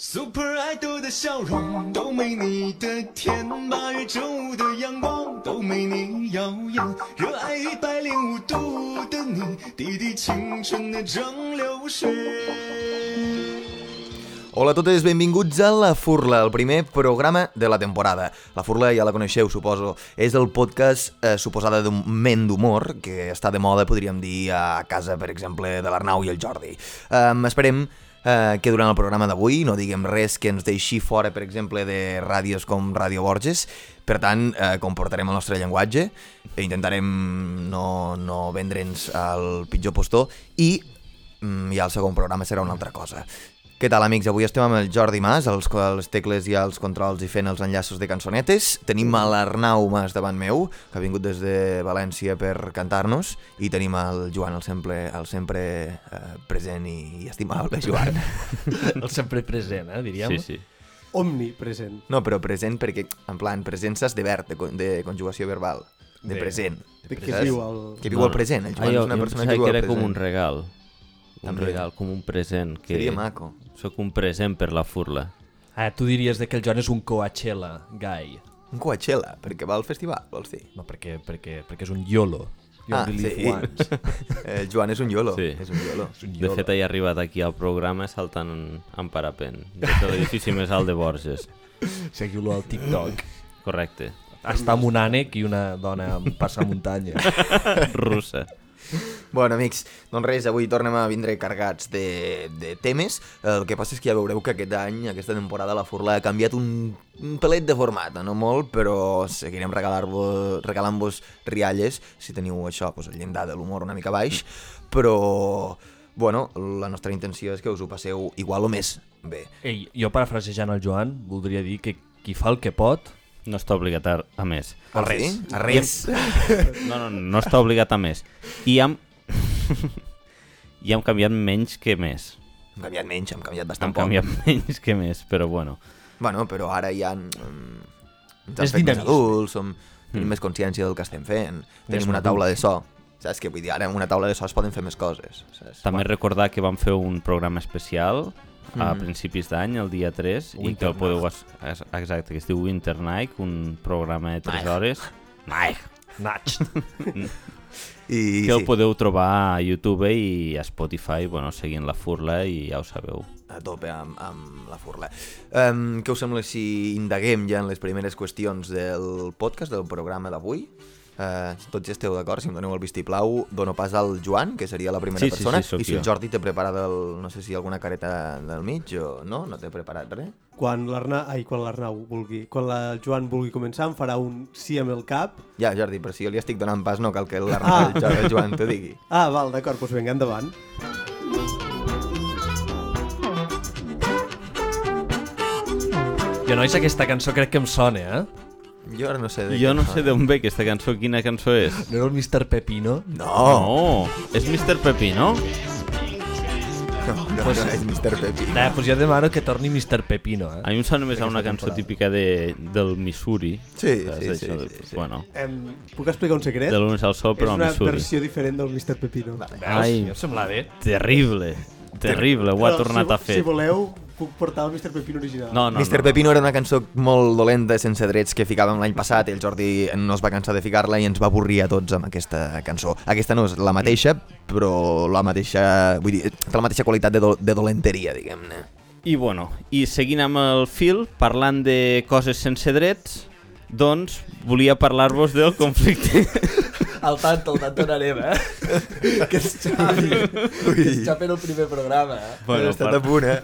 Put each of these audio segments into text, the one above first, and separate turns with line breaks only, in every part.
Super Idol 的笑容都没你的甜，八月正午的阳光都没你耀眼，热爱一百零五度的你，滴滴青春的蒸馏水。
Hola a totes, benvinguts a La Furla, el primer programa de la temporada. La Furla ja la coneixeu, suposo. És el podcast eh, suposada d'un ment d'humor que està de moda, podríem dir, a casa, per exemple, de l'Arnau i el Jordi. Um, esperem eh, que durant el programa d'avui no diguem res que ens deixi fora, per exemple, de ràdios com Ràdio Borges. Per tant, eh, comportarem el nostre llenguatge, e intentarem no, no vendre'ns al pitjor postor i mm, ja el segon programa serà una altra cosa. Què tal, amics? Avui estem amb el Jordi Mas, els, els tecles i els controls i fent els enllaços de cançonetes. Tenim a l'Arnau Mas davant meu, que ha vingut des de València per cantar-nos, i tenim el Joan, el sempre, el sempre eh, present i, i estimable Joan.
El sempre present, eh, diríem.
Sí, sí.
omnipresent.
No, però present perquè, en plan, present s'has de verd, de, con- de conjugació verbal, de
Bé.
present.
De
Saps?
què viu el...
Que viu
No,
al present, el
Ah,
Joan
jo,
és una
jo
persona
pensava
que viu
que
al
era
present.
com un regal. Un
També.
regal, com un present. Que
Seria maco.
Soc un present per la furla.
Ah, tu diries de que el Joan és un Coachella guy.
Un Coachella, perquè va al festival, vols dir?
No, perquè, perquè, perquè és un YOLO. You
Ah,
only live
sí.
once.
El Joan és un iolo.
Sí.
És un iolo.
És un
De
YOLO.
fet, he arribat aquí al programa saltant en, en parapent. Des de l'edifici més alt de Borges.
Seguiu-lo al TikTok.
Correcte.
Està amb un ànec i una dona amb passamuntanya.
Russa.
Bueno, amics, doncs res, avui tornem a vindre cargats de, de temes. El que passa és que ja veureu que aquest any, aquesta temporada, la Furla ha canviat un, un pelet de format, no molt, però seguirem regalar-vos- regalant-vos rialles, si teniu això, doncs, el llindar de l'humor una mica baix, però, bueno, la nostra intenció és que us ho passeu igual o més bé.
Ei, jo parafrasejant el Joan, voldria dir que qui fa el que pot...
No està obligat a, a més.
A res. A res.
No, no, no està obligat a més. I hem... I hem canviat menys que més.
Hem canviat menys, hem canviat
Hem
bastant poc.
canviat menys que més, però bueno.
Bueno, però ara ja mm, ens
És
hem fet més
dinamisme.
adults, som,
Mm.
tenim més consciència del que estem fent, tenim una taula de so. Saps què vull dir? Ara amb una taula de so es poden fer més coses. Saps?
També recordar que vam fer un programa especial a
Mhm.
principis d'any, el dia 3, i que el
Winter
podeu... es- es- Exacte, que es diu Winter Night, un programa de 3
Night.
hores. Night.
Natx.
I,
Que el
sí,
podeu trobar a YouTube i a Spotify, bueno, seguint la furla i ja ho sabeu.
a tope amb, amb la furla. Um, què us sembla si indaguem ja en les primeres qüestions del podcast, del programa d'avui? Uh, tots hi esteu d'acord, si em doneu el vistiplau dono pas al Joan, que seria la primera
Sí, sí,
persona
sí, sóc
i si el
jo.
Jordi té preparat el, no sé si alguna careta del mig o no, no té preparat res
Quan l'Arnau... Ai, quan l'Arnau vulgui... Quan la, el Joan vulgui començar, em farà un sí amb el cap.
Ja, Jordi, però si jo li estic donant pas, no cal que el,
Ah.
el, el Joan t'ho digui.
Ah, val, d'acord, doncs vinga, endavant.
Jo, nois, aquesta cançó crec que em sona, eh?
Jo ara no sé de
Jo
què
no
fa.
sé d'on ve aquesta cançó, quina cançó és.
No era el Mr. Pepino?
No,
No, és Mr. Pepino?
no, no, no,
Pues-
és Mr. Pepi.
Eh, doncs jo demano que torni Mr. Pepino,
A
eh?
mi em sona més a
Aquesta
una cançó
temporada.
típica de, del Missouri.
Sí,
saps?
sí, sí,
Això de-
sí, sí.
Bueno,
Em, puc explicar un secret?
de l'Unes al Sol, però
és
a
una
Missouri.
versió diferent del Mr. Pepino.
Vale.
Ai.
Ja em sembla bé.
Terrible, terrible, ho ha
Però,
tornat
si,
a fer.
Si voleu, puc portar el Mr. Pepino original.
No, no,
Mr.
no.
Pepino era una cançó molt dolenta, sense drets, que ficàvem l'any passat i el Jordi no es va cansar de ficar-la i ens va avorrir a tots amb aquesta cançó. Aquesta no és la mateixa, però la mateixa... Vull dir, té la mateixa qualitat de, do, de dolenteria, diguem-ne.
I bueno, i seguint amb el fil, parlant de coses sense drets, doncs volia parlar-vos del conflicte.
Al tanto, al tanto anarem, eh? que es xapi. Que es xapi el primer programa, eh?
Bueno, estat a punt, eh?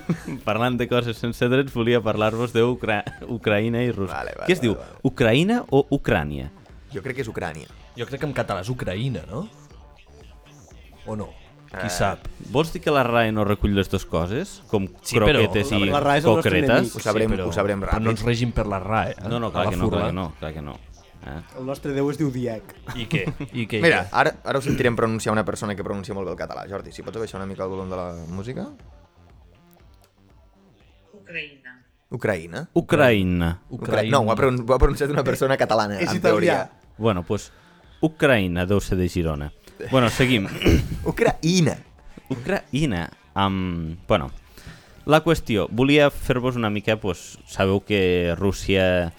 parlant de coses sense drets, volia parlar-vos d'Ucraïna i Rússia.
Vale, vale,
Què es
vale,
diu?
vale.
Ucraïna o Ucrània?
Jo crec que és Ucrània.
Jo crec que en català és Ucraïna, no? O no? Qui sap?
Vols dir que la RAE no recull les dues coses? Com
Sí, però
croquetes i
la RAE és el nostre
cocretes?
enemic.
Ho sabrem,
però,
ho sabrem
però no ens
ràpid.
regim per la RAE, eh?
No, no,
A
clar
la
que no,
furla.
clar que no, clar que no. Eh?
El nostre déu es diu Diec.
I què? I què?
Mira, ara, ara us sentirem pronunciar una persona que pronuncia molt bé el català. Jordi, si pots abaixar una mica el volum de la música?
Ucraïna.
Ucraïna.
Ucraïna.
Ucraïna. No, ho ha, pronun ho ha pronunciat una persona catalana,
És
en
italià.
teoria.
Bueno, doncs pues, Ucraïna deu ser de Girona. Bueno, seguim.
Ucraïna.
Ucraïna, amb... Bueno, La qüestió, volia fer-vos una mica, doncs, sabeu que Rússia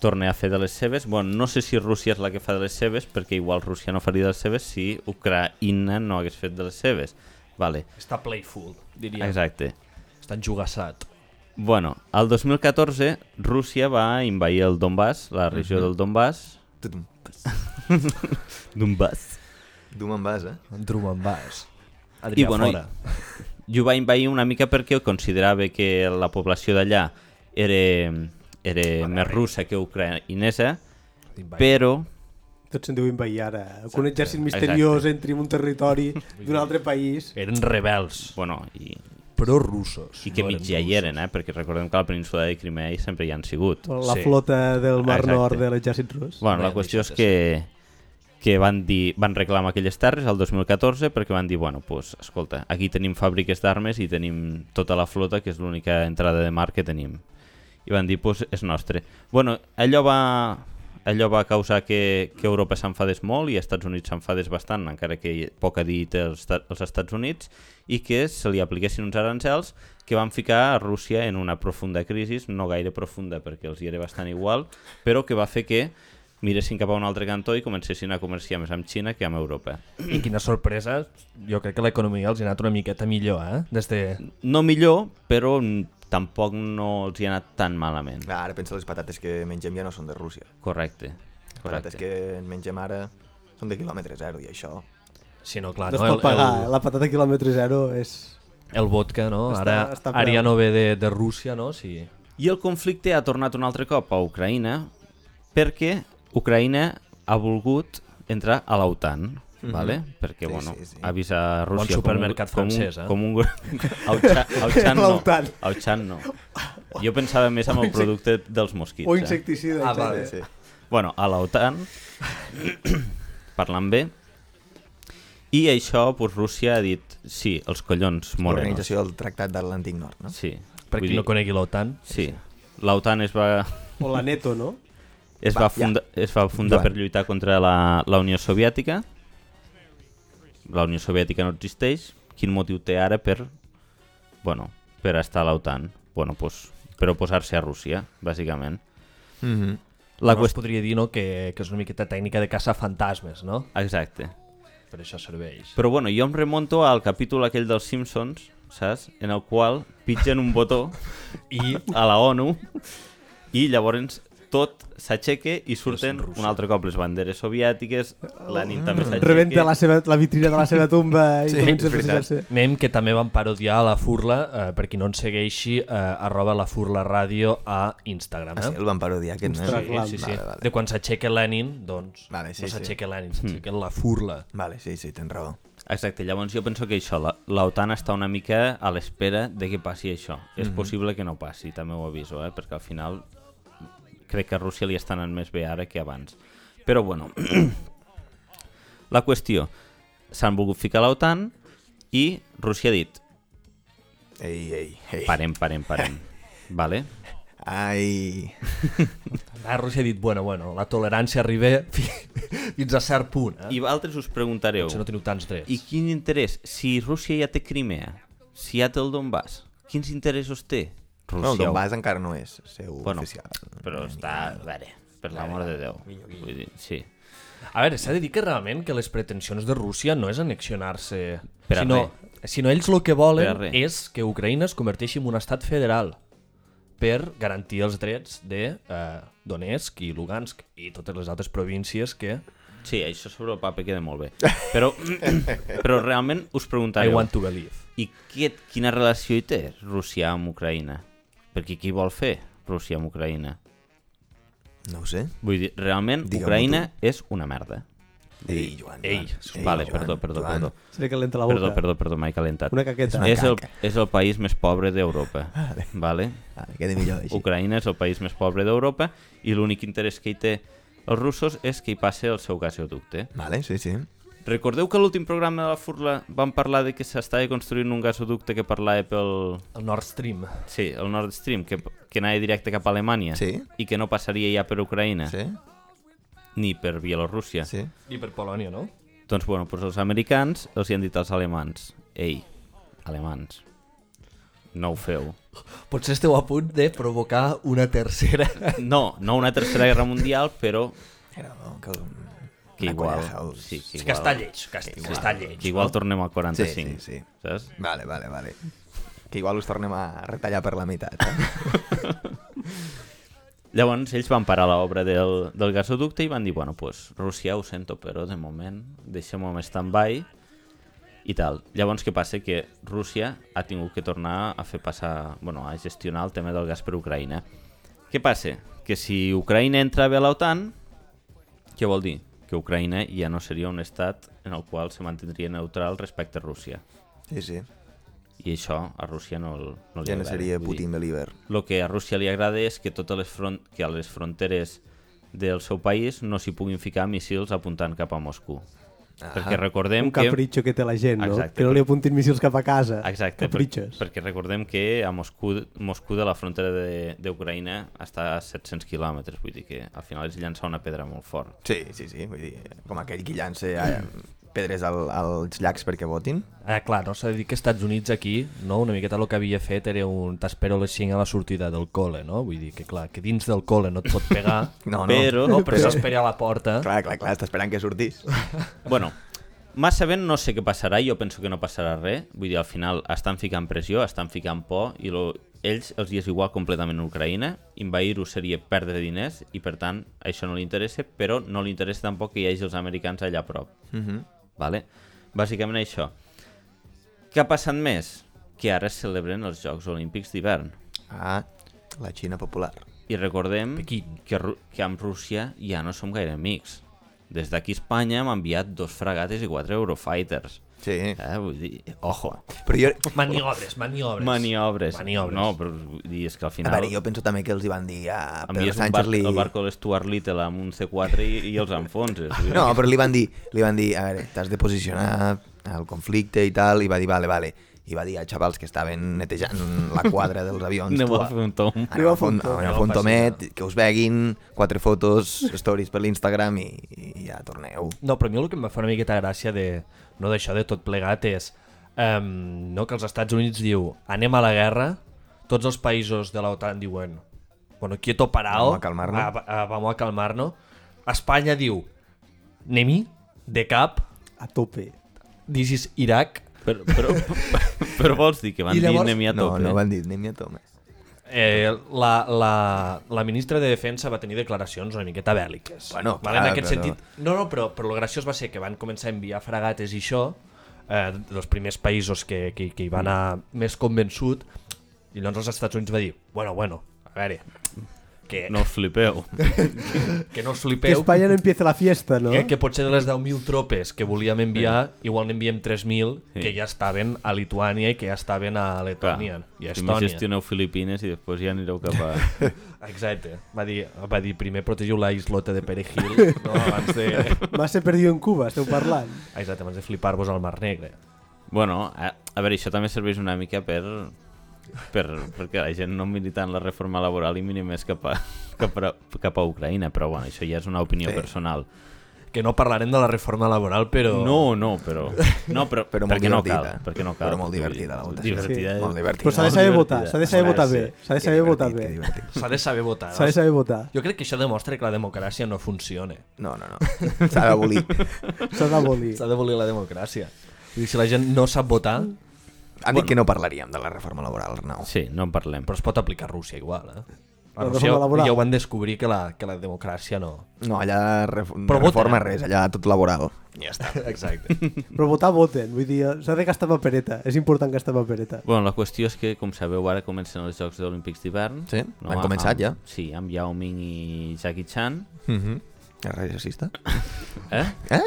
torna a fer de les seves, bueno, no sé si Rússia és la que fa de les seves, perquè igual Rússia no faria de les seves si Ucraïna no hagués fet de les seves. Vale,
Està playful, diria.
exacte.
Està enjugassat.
Bueno, el 2014 Rússia va invair el Donbass, la regió del Donbass.
Tudum.
Donbass.
Dum en vas, eh?
Drum and bass.
I, bueno, fora. I ho va invair una mica perquè considerava que la població d'allà era, era més russa que ucraïnesa, però
Tots se'n diuen veí ara. Que un exèrcit misteriós
Exacte.
entri en un territori d'un altre país.
Eren rebels.
bueno, i,
Però russos.
i que mig ja hi eren, eh? perquè recordem que a la península de Crimea hi sempre hi han sigut.
La
Sí.
flota del Mar
Exacte.
Nord de l'exèrcit rus.
Bueno, la
Bé,
qüestió és
deixa-te
que, que van, dir, van reclamar aquelles terres el 2014 perquè van dir, bueno, pues, escolta, aquí tenim fàbriques d'armes i tenim tota la flota, que és l'única entrada de mar que tenim. I van dir, pues, és nostre. Bueno, allò va, allò va causar que, que Europa s'enfadés molt i els Estats Units s'enfadés bastant, encara que poc ha dit els, Ta- els Estats Units, i que se li apliquessin uns arancels que van ficar a Rússia en una profunda crisi, no gaire profunda perquè els hi era bastant igual, però que va fer que miressin cap a un altre cantó i comencessin a comerciar més amb Xina que amb Europa.
I quina sorpresa, jo crec que l'economia els ha anat una miqueta millor, eh? Des de...
No millor, però mm, tampoc no els hi ha anat tan malament.
Ah, ara pensa les patates que mengem ja no són de Rússia.
Correcte.
Les patates
Correcte.
que en mengem ara són de quilòmetre zero i això.
Si no, clar,
No es
no, el,
pot pagar. eh?
el,
La patata quilòmetre zero és...
el vodka, no?
Està-
Ara,
està
ara
preu.
ja no ve de, de Rússia, no? Sí.
I el conflicte ha tornat un altre cop a Ucraïna perquè Ucraïna ha volgut entrar a l'OTAN.
Mhm.
Mm -hmm. vale? Perquè
Sí,
bueno,
sí, sí.
avisa Rússia
supermercat
com un,
francès, eh?
com un, com un gro- a Auchan no.
L'OTAN.
A Auchan no. Jo pensava més en el producte dels mosquits.
O
eh?
insecticida.
Ah,
etcètera.
vale, sí.
Bueno, a l'OTAN, parlant bé, i això doncs, Rússia ha dit, sí, els collons morenos.
L'organització del Tractat d'Atlàntic Nord, no?
Sí,
Per
vull
qui no
dir,
conegui l'OTAN.
sí. l'OTAN es va,
O la Neto, no?
es
Va,
va,
ja.
funda, es va fundar
Joan.
per lluitar contra la, la Unió Soviètica. La Unió Soviètica no existeix. Quin motiu té ara per, bueno, per estar a l'OTAN? Bueno, pues, per oposar-se a Rússia, bàsicament.
Mm -hmm.
La
no es
qüestió...
podria dir, no?, que, que és una miqueta tècnica de caça fantasmes, no?
Exacte.
Per això serveix.
Però bueno, jo em remonto al capítol aquell dels Simpsons, saps? En el qual pitgen un botó
I
a la ONU i llavors tot s'aixeca i surten un altre cop les banderes soviètiques, la nit també s'aixeca.
Rebenta la, seva, la vitrina de la seva tomba i
Sí,
sí, comença
és
a
veritat.
precisar-se.
Mem, que també van parodiar la Furla, eh, per qui no ens segueixi, eh, arroba la Furla Ràdio a Instagram.
Ah,
Eh?
sí, el van parodiar aquest nen.
Ostres, clar.
sí, sí.
Vale, vale.
De quan s'aixeca Lenin, doncs,
Vale, sí,
no
sí.
s'aixeca Lenin, s'aixeca la Furla.
Vale, sí, sí, tens raó.
Exacte, llavors jo penso que això, la- l'OTAN està una mica a l'espera de que passi això. És possible que no passi, també ho aviso, eh? perquè al final crec que a Rússia li està anant més bé ara que abans. Però bueno, la qüestió, s'han volgut ficar a l'OTAN i Rússia ha dit,
Ei, ei, ei.
parem, parem, parem. Vale?
Ai.
La Rússia Ah, ha dit, bueno, bueno, la tolerància arriba fi- fins a cert punt. Eh?
I altres us preguntareu,
Potser no teniu tants drets.
I quin interès? Si Rússia ja té Crimea, si ja té el Donbass, quins interessos té?
No, el
Rússia,
Donbass encara no és seu
bueno,
oficial.
però està... A veure, per l'amor de Déu. Vull dir, sí.
A veure, s'ha de dir que realment que les pretensions de Rússia no és annexionar-se,
Per a
sinó, sinó ells el que volen
Per a res.
és que Ucraïna es converteixi en un estat federal per garantir els drets de eh, Donetsk i Lugansk i totes les altres províncies que
Sí, això sobre el paper queda molt bé. Però, però realment us
I
preguntareu,
want to believe.
i què, quina relació hi té Rússia amb Ucraïna? Perquè qui vol fer Rússia amb Ucraïna?
No ho sé.
Vull dir, realment,
Digue-m'ho
Ucraïna és una merda.
Ei, Joan. Joan.
Ei, vale, perdó, perdó,
Joan.
perdó.
Se li calenta la boca.
Perdó, perdó, perdó, m'he calentat.
Una caqueta.
és, el,
caca. Ah,
és el país més pobre d'Europa. Vale. vale?
Vale, queda millor així.
Ucraïna és el país més pobre d'Europa i l'únic interès que hi té els russos és que hi passi el seu gasoducte.
Vale, sí, sí.
Recordeu que a l'últim programa de la Furla vam parlar de que s'estava construint un gasoducte que parlava pel...
El Nord Stream.
Sí, el Nord Stream, que, que anava directe cap a Alemanya
Sí.
i que no passaria ja per Ucraïna
Sí,
ni per Bielorússia.
sí.
I per Polònia, no?
Doncs bueno, doncs els americans els hi han dit als alemans Ei, alemans, no ho feu.
Potser esteu a punt de provocar una tercera.
No, no una tercera guerra mundial, però
Era, no, que...
Oh, que
Una
igual...
Collahouse.
Sí, que
És
igual,
que està lleig, que, est- que està lleig.
que igual tornem al
Oh.
45,
Sí, sí, sí.
saps?
Vale, vale, vale. Que igual us tornem a retallar per la meitat. Eh?
Llavors ells van parar l'obra del, del gasoducte i van dir, bueno, pues, Rússia ho sento, però de moment deixem-ho en stand-by i tal. Llavors què passa? Que Rússia ha tingut que tornar a fer passar, bueno, a gestionar el tema del gas per Ucraïna. Què passa? Que si Ucraïna entra bé a l'OTAN, què vol dir? Que Ucraïna ja no seria un estat en el qual se mantindria neutral respecte a Rússia.
Sí, sí.
I això a Rússia no, l- no li
Ja no
agrada.
seria
Vull dir,
Putin de l'Iber.
el que a Rússia li agrada és que totes les front que a les fronteres del seu país no s'hi puguin ficar missils apuntant cap a Moscou. Ah perquè recordem
Un
que...
capritxo que té la gent, no?
Exacte.
Que no li apuntin míssils cap a casa.
Exacte, per,
Capritxos.
perquè recordem que a Moscou, Moscou de la frontera de- d'Ucraïna està a 700 quilòmetres, vull dir que al final és llançar una pedra molt fort.
Sí, sí, sí. Vull dir, com aquell que llança eh, pedres al, als llacs perquè votin.
Ah, clar, no s'ha de dir que Estats Units aquí, no? una miqueta el que havia fet era un t'espero a les 5 a la sortida del col·le, no? Vull dir que, clar, que dins del col·le no et pot pegar,
No, no.
Però-
no, però s'espera a la porta.
Clar, clar, clar, està esperant que sortís.
Bueno, massa ben no sé què passarà, jo penso que no passarà res. Vull dir, al final estan ficant pressió, estan ficant por i lo... ells els hi és igual completament a Ucraïna. Invair-ho seria perdre diners i, per tant, això no li interessa, però no li interessa tampoc que hi hagi els americans allà a prop.
Uh -huh.
Vale? Bàsicament això. Què ha passat més? Que ara es celebren els Jocs Olímpics d'hivern.
Ah, la Xina popular.
I recordem
Pequín.
que, Ru- que amb Rússia ja no som gaire amics. Des d'aquí a Espanya m'ha enviat dos fragates i quatre Eurofighters.
Sí.
Eh, vull dir, ojo.
Però jo...
Maniobres, maniobres.
Maniobres.
Maniobres.
No, però vull dir, és que al
A
final...
veure, jo penso també que els hi van dir a Pedro
envies un
Sánchez
bar,
li...
el barco de Stuart Little amb un C4 i, i els enfonses. vull dir.
No, però li van dir, li van dir, a veure, t'has de posicionar al conflicte i tal, i va dir, vale, vale. I va dir a xavals que estaven netejant la quadra dels avions.
Aneu
tu,
a fer un tom.
Aneu a fer un,
Aneu a fer un
aneu a fer un tomet, que us veguin, quatre fotos, stories per l'Instagram i, i ja torneu.
No, però a mi el que em fa una miqueta gràcia de, no d'això de tot plegat és um, no, que els Estats Units diu anem a la guerra, tots els països de l'OTAN diuen bueno, quieto parao,
Vamos a calmarnos.
ah, va- ah, vamos a calmarnos. Espanya diu anem de cap,
A tope.
this is Iraq,
Però, però, però vols dir que van
I llavors-
dir anem a
no,
tope?
no van dir, anem a tope.
Eh, la, la, la ministra de Defensa va tenir declaracions una miqueta bèl·liques.
Bueno,
vale, en
clar,
aquest
però-
sentit... No, no, però, però el graciós va ser que van començar a enviar fragates i això, eh, dels primers països que, que, que hi van anar més convençut, i llavors els Estats Units va dir, bueno, bueno, a veure, que no,
No us flipeu.
que no us
Que
flipeu, que,
Espanya no empieza la fiesta, no?
que, que potser de les 10.000 tropes que volíem enviar, igual n'enviem 3.000
Sí.
que ja estaven a Lituània i que ja estaven a Letònia i a
Primer
Estònia.
gestioneu Filipines i després ja anireu cap a...
Exacte. Va dir, va dir primer protegiu la islota de Perejil no, abans de... Ah,
Va ser perdido en Cuba, esteu parlant.
Exacte, abans de flipar-vos al Mar Negre.
Bueno, a, a veure, això també serveix una mica per... Per, perquè la gent no miri tant la reforma laboral i miri més cap a, cap a, cap a Ucraïna, però bueno, això ja és una opinió
Sí.
personal.
Que no parlarem de la reforma laboral, però...
No, no, però... No, però,
Però molt
perquè no
divertida.
cal, perquè no cal.
Però molt divertida, la votació.
Divertida.
Sí.
eh?
Molt divertida.
Però s'ha de
molt
saber
divertida.
votar, s'ha de saber
Home,
votar
sí.
bé. S'ha de saber
Que
votar
divertit,
bé.
que divertit.
S'ha de saber votar.
S'ha de saber votar.
Jo crec que això demostra que la democràcia no funciona.
No, no, no. S'ha d'abolir.
S'ha d'abolir.
S'ha d'abolir la democràcia. I si la gent no sap votar,
Han dit que no parlaríem de la reforma laboral, Arnau.
Sí, no en parlem.
però es pot aplicar a Rússia igual, eh? A
La
Rússia
reforma laboral.
ja ho van descobrir que la, que la democràcia no...
No, allà ref
Però voten,
reforma
eh?
res, allà tot laboral.
Ja està. Exacte.
Però votar voten, vull dir, s'ha de gastar papereta. És important gastar papereta.
Bueno, la qüestió és que, com sabeu, ara comencen els Jocs Olímpics d'hivern.
Sí, han començat
amb,
ja.
Sí, amb Yao Ming i Jackie Chan.
Mm -hmm. És racista?
Eh?
Eh?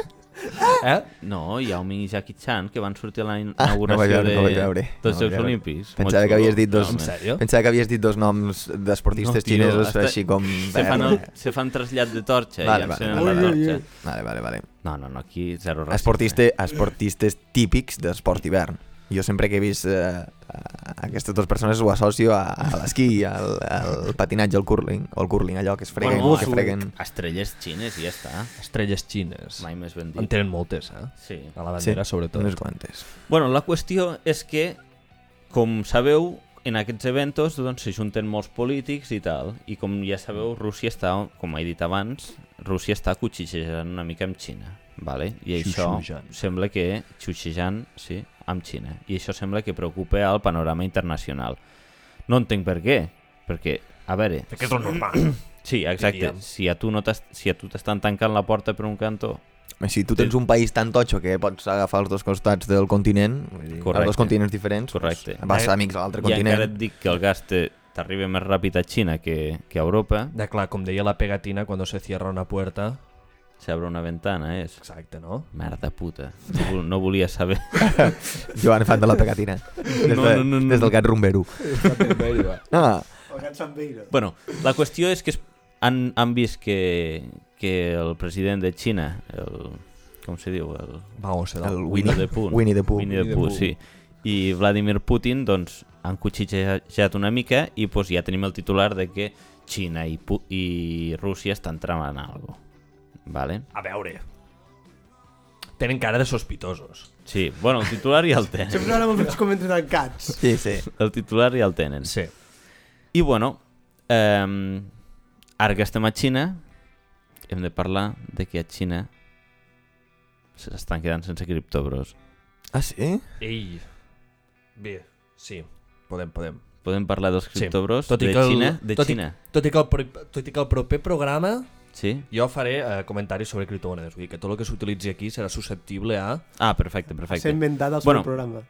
Eh?
No, Yao Ming i Jackie Chan, que van sortir a la
Ah, no vaig
inauguració
veure, no vaig
de,
veure. no
dels
vaig
Jocs
veure.
Olímpics.
Pensava
Molt
que havies
xulo.
dit dos,
No, home,
sèrio?
pensava que havies dit dos noms d'esportistes
no, tio,
xinesos
hasta-
així com...
Se fan, el, se fan trasllat de torxa
Vale,
i
vale,
encenen la
vale, vale.
torxa.
Ui, ui,
Vale, vale, vale.
No, no, no, aquí zero racisme.
Esportista, esportistes típics d'esport hivern. Jo sempre que he vist eh, a- aquestes dues persones ho associo a, a l'esquí, al, al patinatge, al curling, o al curling, allò que es freguen,
Bueno,
que
a-
freguen...
Estrelles xines i ja està.
Estrelles xines.
Mai més ben
En
dit.
tenen moltes, eh?
Sí.
A la bandera, sobretot.
unes quantes.
Bueno, la qüestió és que, com sabeu, en aquests eventos doncs, s'ajunten molts polítics i tal, i com ja sabeu, Rússia està, com he dit abans, Rússia està cochichejant una mica amb Xina, vale? i això
Xuxujant.
sembla que xuxejant, sí, amb Xina, i això sembla que preocupa al panorama internacional. No entenc per què, perquè, a veure,
Que és el normal.
sí, exacte,
diríem.
si a tu no t'has- si a tu t'estan tancant la porta per un cantó,
Si tu tens un país tan totxo que pots agafar els dos costats del continent, vull dir, els
Correcte.
dos continents diferents,
Correcte.
doncs vas a amics a l'altre
i
continent.
encara et dic que el gas te- t'arriba més ràpid a Xina que, que a Europa,
De clar, com deia la pegatina, quan se cierra una puerta...
s'obre una ventana, eh? és...
Exacte, no?
Merda puta, no, vol- no volia saber.
Joan, fan de la pegatina. Des, de,
No, no, no, no.
des del gat rumbero. No, no,
El gat se'n veira.
bueno, la qüestió és que es, han, han vist que, que el president de Xina, el, com se diu? El,
Vamos, el...
el Winnie,
the Pooh. no?
Winnie the Pooh.
Winnie the Pooh, sí. I Vladimir Putin, doncs, han cotxitejat una mica i doncs, ja tenim el titular de que Xina i, Pu i Rússia estan tramant alguna cosa. Vale?
A veure... Tenen cara de sospitosos.
Sí, bueno, el titular ja el tenen.
Sempre ara me'ls veig com entre tancats.
Sí, sí.
El titular ja el tenen.
Sí.
I bueno, eh, ara que estem a Xina, hem de parlar de que a Xina s'estan quedant sense criptobros.
Ah, sí?
Ei... Bé, sí. Podem, podem.
Podem parlar dels
Sí.
criptobros
Tot i
de
que el-
Xina? De
tot i-
Xina,
Tot i que el, pro- tot i que el proper programa
sí?
jo faré eh, comentaris sobre criptomonedes. Vull dir que tot el que s'utilitzi aquí serà susceptible a...
Ah, perfecte, perfecte.
S'ha inventat el
Bueno.
seu programa.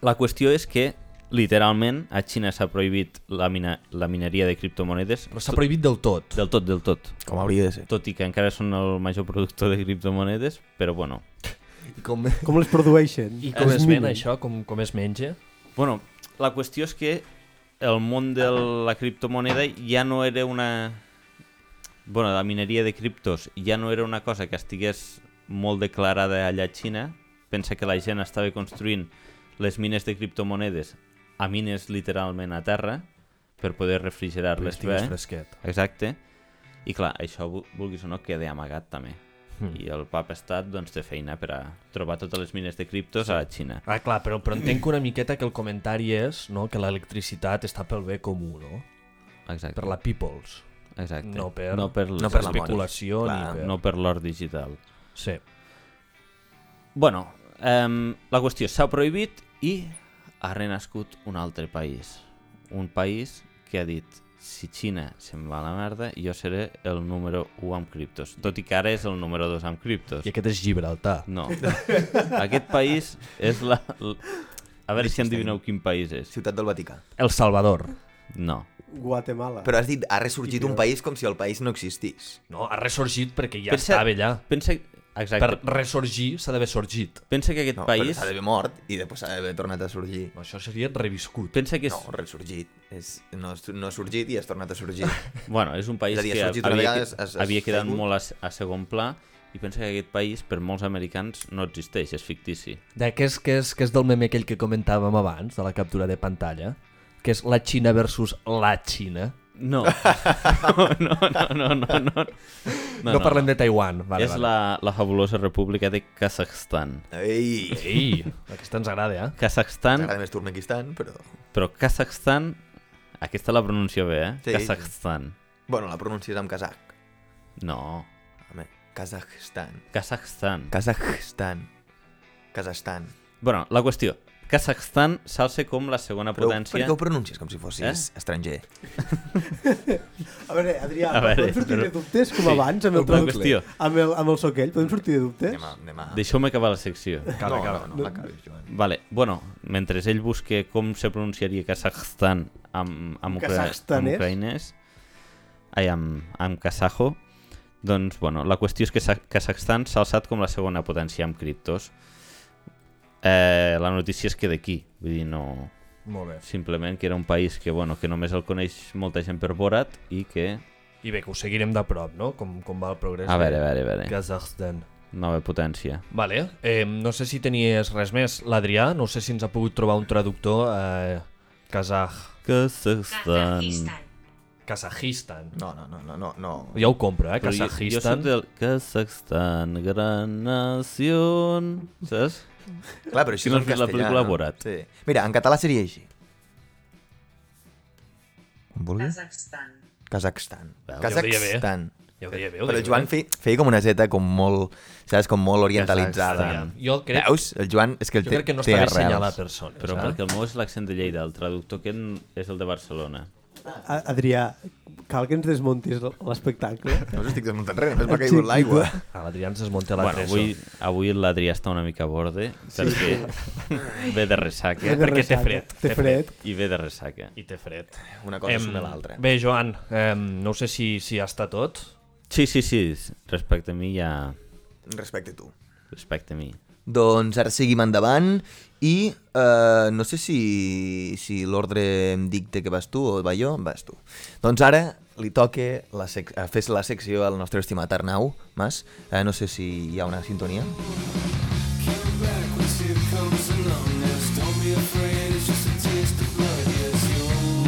La qüestió és que, literalment, a Xina s'ha prohibit la, mina, la mineria de criptomonedes
Però s'ha prohibit del tot.
del tot, del tot.
Com hauria de ser.
Tot i que encara són el major productor de criptomonedes, però bueno.
I com,
Com les produeixen?
i com es ven
minen.
això? Com, com es menja?
Bueno, la qüestió és que el món de la criptomoneda ja no era una... Bueno, la mineria de criptos ja no era una cosa que estigués molt declarada allà a Xina. Pensa que la gent estava construint les mines de criptomonedes a mines literalment a terra per poder
Perquè
refrigerar-les
estigués
bé.
fresquet.
Exacte. I clar, això, vu- vulguis o no, queda amagat també.
Hmm.
I el pap estat doncs, té feina per a trobar totes les mines de criptos a la Xina.
Ah, clar, però, però entenc una miqueta que el comentari és no, que l'electricitat està pel bé comú, no?
Exacte.
Per la peoples,
Exacte.
no per,
no per,
no per l'especulació ni
Clar,
per...
no per l'or digital.
Sí.
Bueno, um, la qüestió s'ha prohibit i ha renascut un altre país. Un país que ha dit si Xina se'n va a la merda, jo seré el número 1 amb criptos. Tot i que ara és el número 2 amb criptos.
I aquest és Gibraltar.
No. Aquest país és la... l- A veure si endivineu quin país és.
Ciutat del Vaticà.
El Salvador.
No.
Guatemala.
Però has dit, ha ressorgit un país com si el país no existís.
No, ha ressorgit perquè ja
Pensa-
estava allà.
Pensa...
Per
Exacte.
ressorgir s'ha d'haver sorgit.
Pensa que aquest
No, però
país...
s'ha d'haver mort i després s'ha d'haver tornat a sorgir.
No, això seria reviscut.
Pensa que és...
No, ressorgit. És, no, no ha sorgit i has tornat a sorgir.
Bueno, és un país
És a dir, ha
que
sorgit una
havia,
vegada, has- has
havia quedat
caigut.
molt a, se- a segon pla i pensa que aquest país per molts americans no existeix, és fictici.
D'aquest que és, que és del meme aquell que comentàvem abans, de la captura de pantalla, que és la Xina versus la Xina.
No, no, no, no, no, no. No,
No, no, no parlem de Taiwan. Vale,
és
vale.
La, la fabulosa república de Kazakhstan.
Ei!
Ei, aquesta ens agrada, eh?
Kazakhstan,
T'agrada més Turmequistan, però...
però Kazakhstan... Aquesta la pronuncio bé, eh?
Sí.
Kazakhstan.
Bueno, la pronuncies amb kazakh.
No,
Home, Kazakhstan.
Kazakhstan.
Kazakhstan. Kazakhstan.
Bueno, la qüestió. Kazakhstan s'alça com la segona
Però
potència...
per què ho pronuncies com si fossis
Eh?
estranger?
A veure, Adrià,
A veure,
podem sortir
però-
de dubtes com
Sí,
abans amb el,
una
traductor?
qüestió.
amb el, amb el soquell? Podem sortir de dubtes?
Anem a... Anem a...
Deixeu-me acabar la secció.
Acaba, no, acaba, no, no l'acabis, Joan.
Vale, bueno, mentre ell busque com se pronunciaria Kazakhstan amb, amb, ucra amb
Kazakhstanès?
ucraïnès, ai, amb, amb kazajo, doncs, bueno, la qüestió és que Sa- Kazakhstan s'ha alçat com la segona potència amb criptos. Eh, la notícia és que d'aquí, vull dir, no...
Molt bé.
Simplement que era un país que, bueno, que només el coneix molta gent per Borat i que...
I bé, que ho seguirem de prop, no? Com, com va el progrés
A veure, a
de
veure, a veure.
Kazakhstan.
Nova potència.
Vale, eh, no sé si tenies res més. L'Adrià, no sé si ens ha pogut trobar un traductor eh, kazaj...
Kazakhstan.
Kazajistan.
Kazajistan.
No, no, no, no, no, no.
Ja ho compro, eh?
Però jo- Jo soc
Kazajistan.
del Kazakhstan, gran nació... Saps?
Clar, però així
Si no
és en
has vist la
castellà,
pel·lícula
no?
Borat.
Sí. Mira, en català seria així. Vulgui?
Kazakhstan.
Kazakhstan.
Veu, ja ho deia bé.
Kazakhstan.
Ja ho deia eh? bé, ho
Però el
deia
eh?
Joan fe, feia com una zeta com molt, saps, com molt orientalitzada.
Kazakhstan. Jo el crec-
Veus? El Joan és que el
Jo
té,
crec que no
té
està bé
arrels.
assenyalar eh? la persona.
Però perquè el meu és l'accent de Lleida, el traductor que en- és el de Barcelona.
A- Adrià, cal que ens desmuntis l'espectacle?
No us estic desmuntant res, només m'ha caigut l'aigua.
Ah, l'Adrià ens desmunta la
Bueno,
bueno,
avui, avui l'Adrià està una mica a borde, perquè ve de ressaca.
Ve de
perquè té
ressaca.
fred,
Té
té
fred.
I ve de ressaca.
I té fred.
Una cosa suma l'altra.
Bé, Joan, em, no sé si, si ja està tot.
Sí, sí, sí, respecte a mi ja...
Respecte a tu.
Respecte a mi.
Doncs ara seguim endavant i eh, no sé si, si l'ordre em dicta que vas tu o va jo, vas tu. Doncs ara li toque la sec eh, fes la secció al nostre estimat Arnau Mas. Eh, no sé si hi ha una sintonia.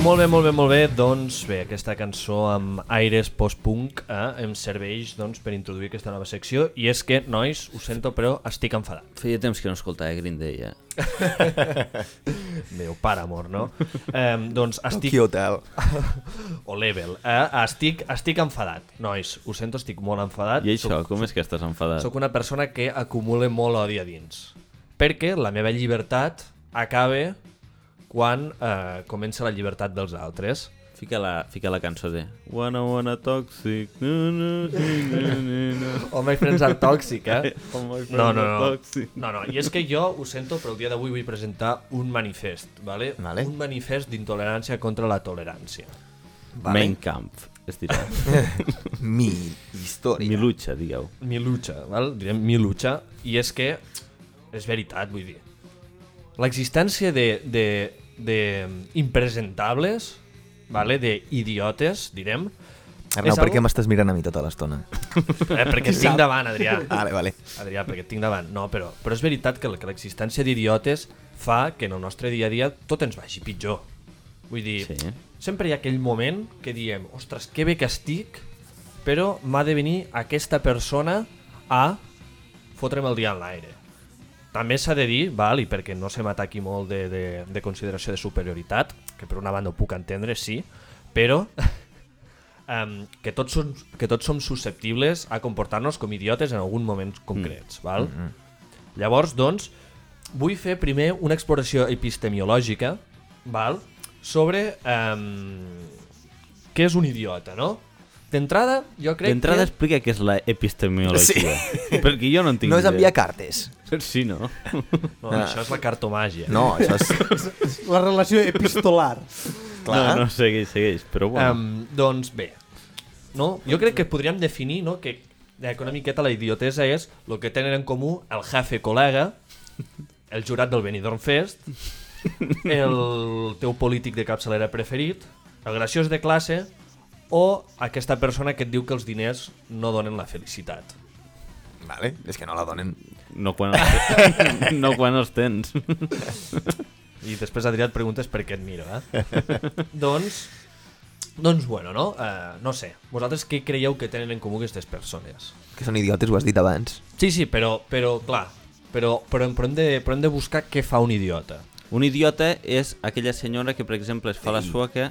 Molt bé, molt bé, molt bé. Doncs bé, aquesta cançó amb aires post-punk eh, em serveix doncs, per introduir aquesta nova secció. I és que, nois, ho sento, però estic enfadat.
Feia temps que no escoltava Green Day, eh?
Meu pare, amor, no? Eh, doncs estic...
Tokyo Hotel.
O level. Eh? Estic, estic enfadat, nois. Ho sento, estic molt enfadat.
I això,
Soc,
com és que estàs enfadat?
soc una persona que acumula molt odi a dins. Perquè la meva llibertat acaba quan eh, comença la llibertat dels altres.
Fica la, fica la cançó de Wanna Wanna Toxic nu, nu, nu, nu, nu, nu.
Oh, my friends are toxic, eh?
Oh, my friend,
No, no, no.
Toxic.
No, no, i és que jo ho sento, però el dia d'avui vull presentar un manifest, vale?
Vale.
Un manifest d'intolerància contra la tolerància.
Vale.
Main Camp, es dirà.
Mi història.
Mi lucha, digueu.
Mi lucha, val? Direm mi lucha, i és que és veritat, vull dir. L'existència de, de, de impresentables, vale? de idiotes, direm,
Arnau,
és
per què
algo-
m'estàs mirant a mi tota l'estona?
eh, perquè et tinc davant, Adrià.
Vale, vale.
Adrià, perquè et tinc davant. No, però, però és veritat que, que l'existència d'idiotes fa que en el nostre dia a dia tot ens vagi pitjor. Vull dir,
Sí.
sí. sempre hi ha aquell moment que diem, ostres, que bé que estic, però m'ha de venir aquesta persona a fotre'm el dia en l'aire. També s'ha de dir, val, i perquè no se m'ataqui molt de, de, de consideració de superioritat, que per una banda ho puc entendre, sí, però um, que, tots som, que tots som susceptibles a comportar-nos com idiotes en algun moment concrets, val? Mm -hmm. Llavors, doncs, vull fer primer una exploració epistemiològica, val? Sobre um, què és un idiota, no? D'entrada, jo crec
D'entrada
que...
explica què és la epistemologia. Sí. Perquè jo no en tinc
No és enviar
idea.
cartes.
Sí, no?
No, Oh, això és la cartomàgia.
No, això és...
La relació epistolar.
Clar.
No, no, segueix, segueix. Però bueno, um,
Um, doncs bé, no? jo crec que podríem definir no? que eh, que una miqueta la idiotesa és el que tenen en comú el jefe col·lega, el jurat del Benidorm Fest, el teu polític de capçalera preferit, el graciós de classe o aquesta persona que et diu que els diners no donen la felicitat.
Vale, és que no la donen.
no, quan els, no quan els tens.
I després Adrià et preguntes per què et miro, eh? doncs, doncs bueno, no? Uh, no sé, vosaltres què creieu que tenen en comú aquestes persones?
Que són idiotes, ho has dit abans.
Sí, sí, però, però clar, però, però, però, hem de, però hem de buscar què fa un idiota.
Un idiota és aquella senyora que, per exemple, es fa la sueca...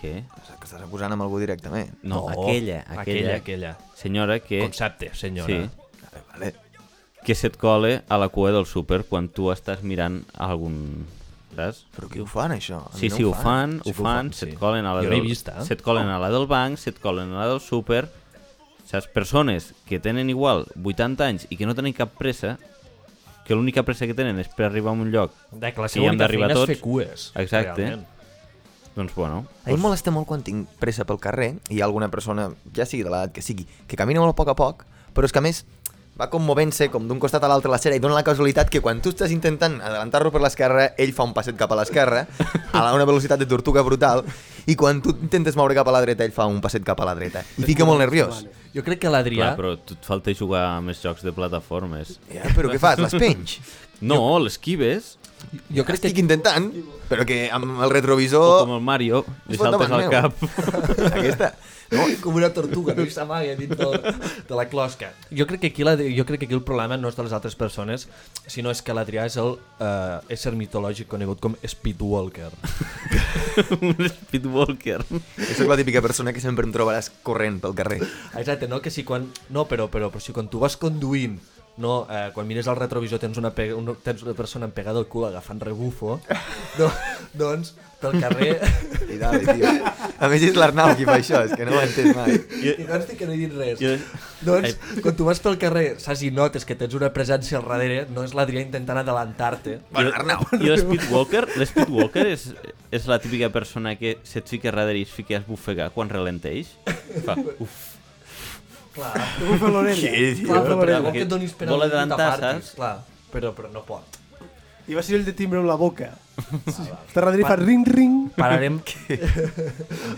Què?
Que estàs acusant amb algú directament.
No, aquella, aquella,
Aquella, aquella.
Senyora que...
Concepte, senyora.
Sí.
Vale, vale.
que se't cole a la cua del súper quan tu estàs mirant algun... Saps?
Però qui ho fan, això? A mi
Sí,
no
sí, ho fan, ho
Sí que ho
fan,
fan,
se't
sí.
colen a la
Jo
del...
l'he vista, eh?
Se't colen a la del banc, se't colen a la del súper... Saps? Persones que tenen igual 80 anys i que no tenen cap pressa, que l'única pressa que tenen és per arribar a un lloc.
De que la
I hi
seva
hem
única
d'arribar
feina és
tots.
fer cues.
Exacte.
realment.
Doncs bueno,
A mi em molesta molt quan tinc pressa pel carrer i hi ha alguna persona, ja sigui de l'edat que sigui, que camina molt a poc a poc, però és que a més va com movent-se com d'un costat a l'altre la cera i dona la casualitat que quan tu estàs intentant adelantar-lo per l'esquerra, ell fa un passet cap a l'esquerra a la- una velocitat de tortuga brutal i quan tu intentes moure cap a la dreta, ell fa un passet cap a la dreta. I fica molt nerviós.
Jo crec que l'Adrià...
Clar, però tu et falta jugar a més jocs de plataformes.
Ja, però què fas? Les penys?
No, l'esquives,
Jo crec
Estic
que...
intentant, però que amb el
o
retrovisor...
com el Mario, li
Es fot
saltes
davant
al
meu.
cap.
Aquesta.
No? Com una tortuga, no s'amaga dins del, de la closca.
Jo crec que, aquí la, jo crec que aquí el problema no és de les altres persones, sinó és que l'Adrià és el eh, ésser mitològic conegut com Speedwalker.
un speedwalker.
Jo soc la típica persona que sempre em trobaràs corrent pel carrer.
Exacte, no? Que si quan... No, però, però, però si quan tu vas conduint, no? Eh, quan mires al retrovisor tens una, pe... una... tens una persona empegada al cul agafant rebufo, no? doncs pel carrer...
I dale, tio. A més és l'Arnau qui fa això, és que no ho he entès mai.
Jo-
I consti que no he dit res.
Jo-
Doncs, quan tu vas pel carrer, saps i notes que tens una presència al darrere, no és l'Adrià intentant adelantar-te.
Bueno, Arnau.
I l'Speedwalker, l'Speedwalker és, és la típica persona que se't fica darrere i es fica a esbufegar quan ralenteix. Fa, uf,
Clar.
Ho fa l'orella.
Clar, però, però,
Però
vol
perquè
que et donis per
vol
al-
adelantar,
tapar-t'hi,
saps?
Clar, però, però no pot.
I va ser el de timbre amb la boca. Te darrere i fa ring, ring.
Pararem,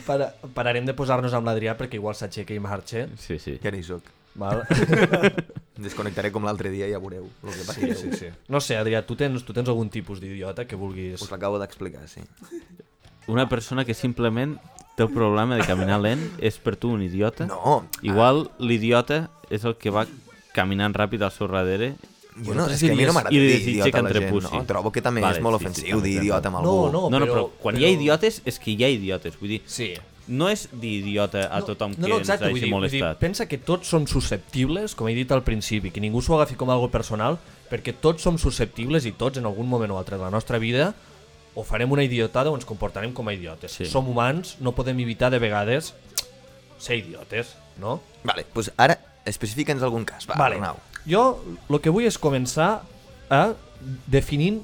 para, pararem de posar-nos amb l'Adrià perquè igual s'aixeca i marxa.
sí, sí.
Ja no hi soc.
Val?
Desconnectaré com l'altre dia i ja veureu el que passa.
Sí, sí, sí. No sé, Adrià, tu tens, tu tens algun tipus d'idiota que vulguis...
Us l'acabo d'explicar, sí.
Una persona que simplement té el problema de caminar lent és per tu un idiota.
No,
Igual l'idiota és el que va caminant ràpid al seu darrere.
jo no, és que a mi no m'agrada
I li
dir
desitja
idiota
que
a la gent,
entrepussi.
no? Trobo que també
Vale,
és molt
sí, sí,
ofensiu
també
dir
és
idiota amb algú.
No, no,
No, no, però quan hi ha
però-
idiotes és que hi ha idiotes. Vull dir,
Sí.
no és dir idiota a tothom
no,
que
no,
ens
exacte, vull
hagi
dir, vull dir,
molestat.
pensa que tots som susceptibles, com he dit al principi, que ningú s'ho agafi com algo personal, perquè tots som susceptibles i tots en algun moment o altre de la nostra vida o farem una idiotada o ens comportarem com a idiotes.
Sí.
Som humans, no podem evitar de vegades ser idiotes, no?
Vale, doncs ara especifica'ns algun cas, va,
vale.
Arnau.
Jo el que vull és començar a definint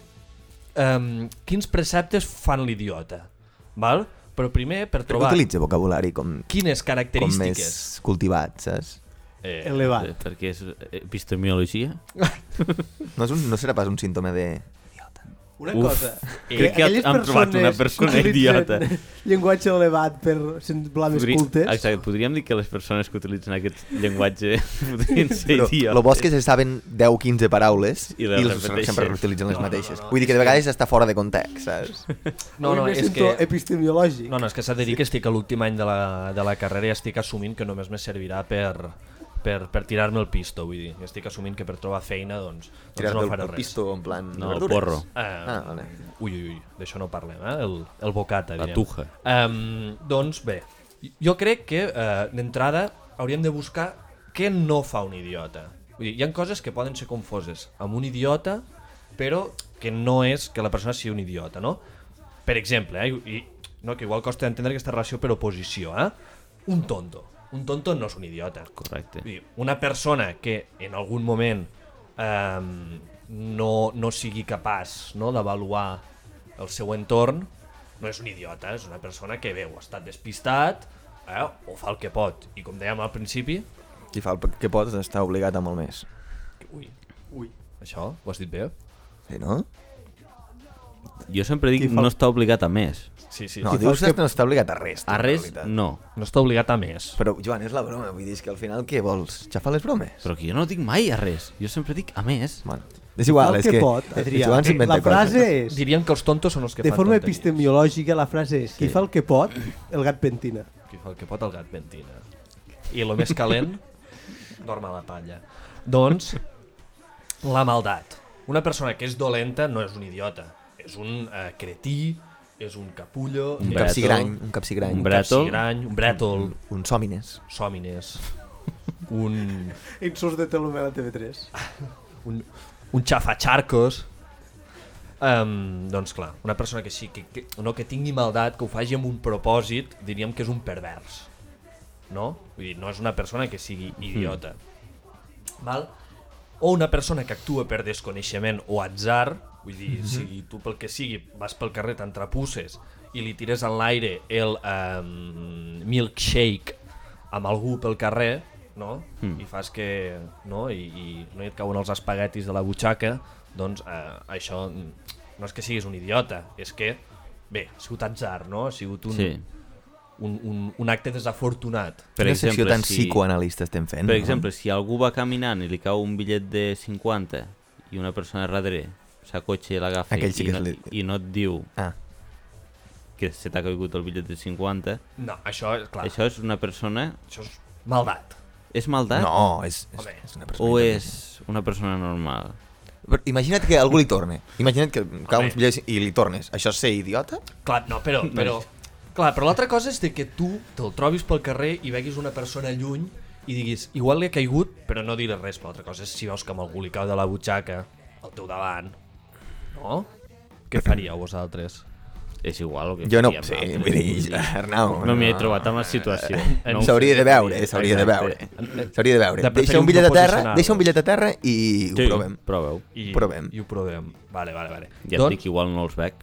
um, quins preceptes fan l'idiota, val? Però primer per
Però
trobar
utilitza vocabulari com,
quines
com
característiques...
més cultivat, saps?
Eh,
Elevat.
Eh, Perquè és epistemologia.
No, és un, no serà pas un símptoma de...
Una
Uf,
cosa.
crec que
aquelles
hem trobat una
persones
persona
que utilitzen
idiota.
Llenguatge elevat per semblar més
Podri-
cultes.
Exacte, podríem dir que les persones que utilitzen aquest llenguatge podrien ser
Però
idiotes.
el bo és que se saben 10-15 paraules
I
i,
les
les
repeteixen.
sempre reutilitzen les
No, no, no,
mateixes.
no,
Vull dir que
és
de vegades està fora de context, saps?
no, no,
Avui me
és
sento
que...
epistemològic.
No, no, és que s'ha de dir que estic a l'últim any de la, de la carrera i estic assumint que només me servirà per, per, per tirar-me el pisto, vull dir. Estic assumint que per trobar feina, doncs, doncs
Tirar-te
no
el
faré res.
pisto en plan...
No,
verdures.
porro.
Eh,
Ah, vale.
Ui, ui, ui, d'això no parlem, eh? El, el bocata,
La
diríem.
tuja.
Um, doncs bé, jo crec que eh, d'entrada hauríem de buscar què no fa un idiota. Vull dir, hi ha coses que poden ser confoses amb un idiota, però que no és que la persona sigui un idiota, no? Per exemple, eh, i, i- no, que igual costa entendre aquesta relació per oposició, eh? Un tonto. Un tonto no és un idiota.
Correcte.
Vull dir, una persona que en algun moment eh, no, no sigui capaç no, d'avaluar el seu entorn no és un idiota, és una persona que veu, ha estat despistat eh, o fa el que pot. I com dèiem al principi,
Qui fa el que pots està obligat a molt més.
ui, ui, això ho has dit bé?
Sí, no?
Jo sempre dic
Qui fa-
no està obligat a més.
Sí, sí.
No,
Qui fa
dius
el
que
que-
no està obligat a res. tu,
A
en
res,
realitat.
no.
no està obligat a més.
Però, Joan, és la broma. Vull dir, és que al final què vols? Ja fa les bromes?
Però que jo no dic mai a res. Jo sempre dic a més.
Bueno, és igual,
Fa el
és
que
que...
pot, Adrià.
Joan s'inventa
La frase és,
Diríem que els tontos són els que
de
fan
forma
tonteries.
epistemològica, la frase és qui
Sí.
fa el que pot, el gat pentina.
Qui fa el que pot el gat pentina. I el més calent, dorm a la palla. Doncs, la maldat. Una persona que és dolenta no és un idiota. És un eh, cretí, és un capullo...
Un
Un
és
brètol.
capsigrany, un capsigrany.
Un
Un
Un,
brètol.
capsigrany, un brètol,
un sòmines.
sòmines, un,
Insults de Telomela TV3.
un, un xafatxarcos... Um, doncs clar, una persona que sí que, que, no, que tingui maldat, que ho faci amb un propòsit, diríem que és un pervers. No? Vull dir, no és una persona que sigui idiota. Val? O una persona que actua per desconeixement o atzar, vull dir, sigui tu pel que sigui, vas pel carrer, t'entrapusses i li tires en l'aire el um, milkshake amb algú pel carrer, no? I fas que... No? I, I no et cauen els espaguetis de la butxaca, doncs eh, això no és que siguis un idiota, és que, bé, ha sigut atzar, no? Ha sigut un,
Sí.
un, un, un acte desafortunat.
Per
Quina secció
exemple,
tan
si,
psicoanalista estem fent?
per
no?
exemple, si algú va caminant i li cau un bitllet de 50 i una persona darrere s'acotxa i l'agafa i,
Aquell sí que
no,
és
i no et diu
Ah,
que se t'ha caigut el bitllet de 50,
No, això, clar, això,
això és una persona...
això és maldat.
És maldat?
no, és, és,
Home,
és una persona...
O
intel·ligent.
és una persona normal?
Però imagina't que algú li torne. Imagina't que cau uns
Home.
bitllets i li tornes. Això és ser idiota?
Clar, no, però... però clar, però l'altra cosa és de que tu te'l trobis pel carrer i veguis una persona lluny i diguis, igual li ha caigut, però no diré res. Però l'altra cosa és si veus que amb algú li cau de la butxaca, al teu davant, no? Què faríeu vosaltres?
És igual el que
Jo no
faríem
sé,
nosaltres,
vull dir, Arnau...
No m'hi he trobat amb la situació. No ho
eh, S'hauria
sé,
de veure,
vull
eh?
dir,
s'hauria de veure.
exacte.
S'hauria de veure.
De
Deixa
preferir
un bitllet
no
a terra,
posicionar-lo.
deixa un bitllet a terra i ho
Sí,
provem.
Proveu.
I,
Provem.
I ho provem. Vale, vale, Doncs vale.
Ja et dic, igual no els veig.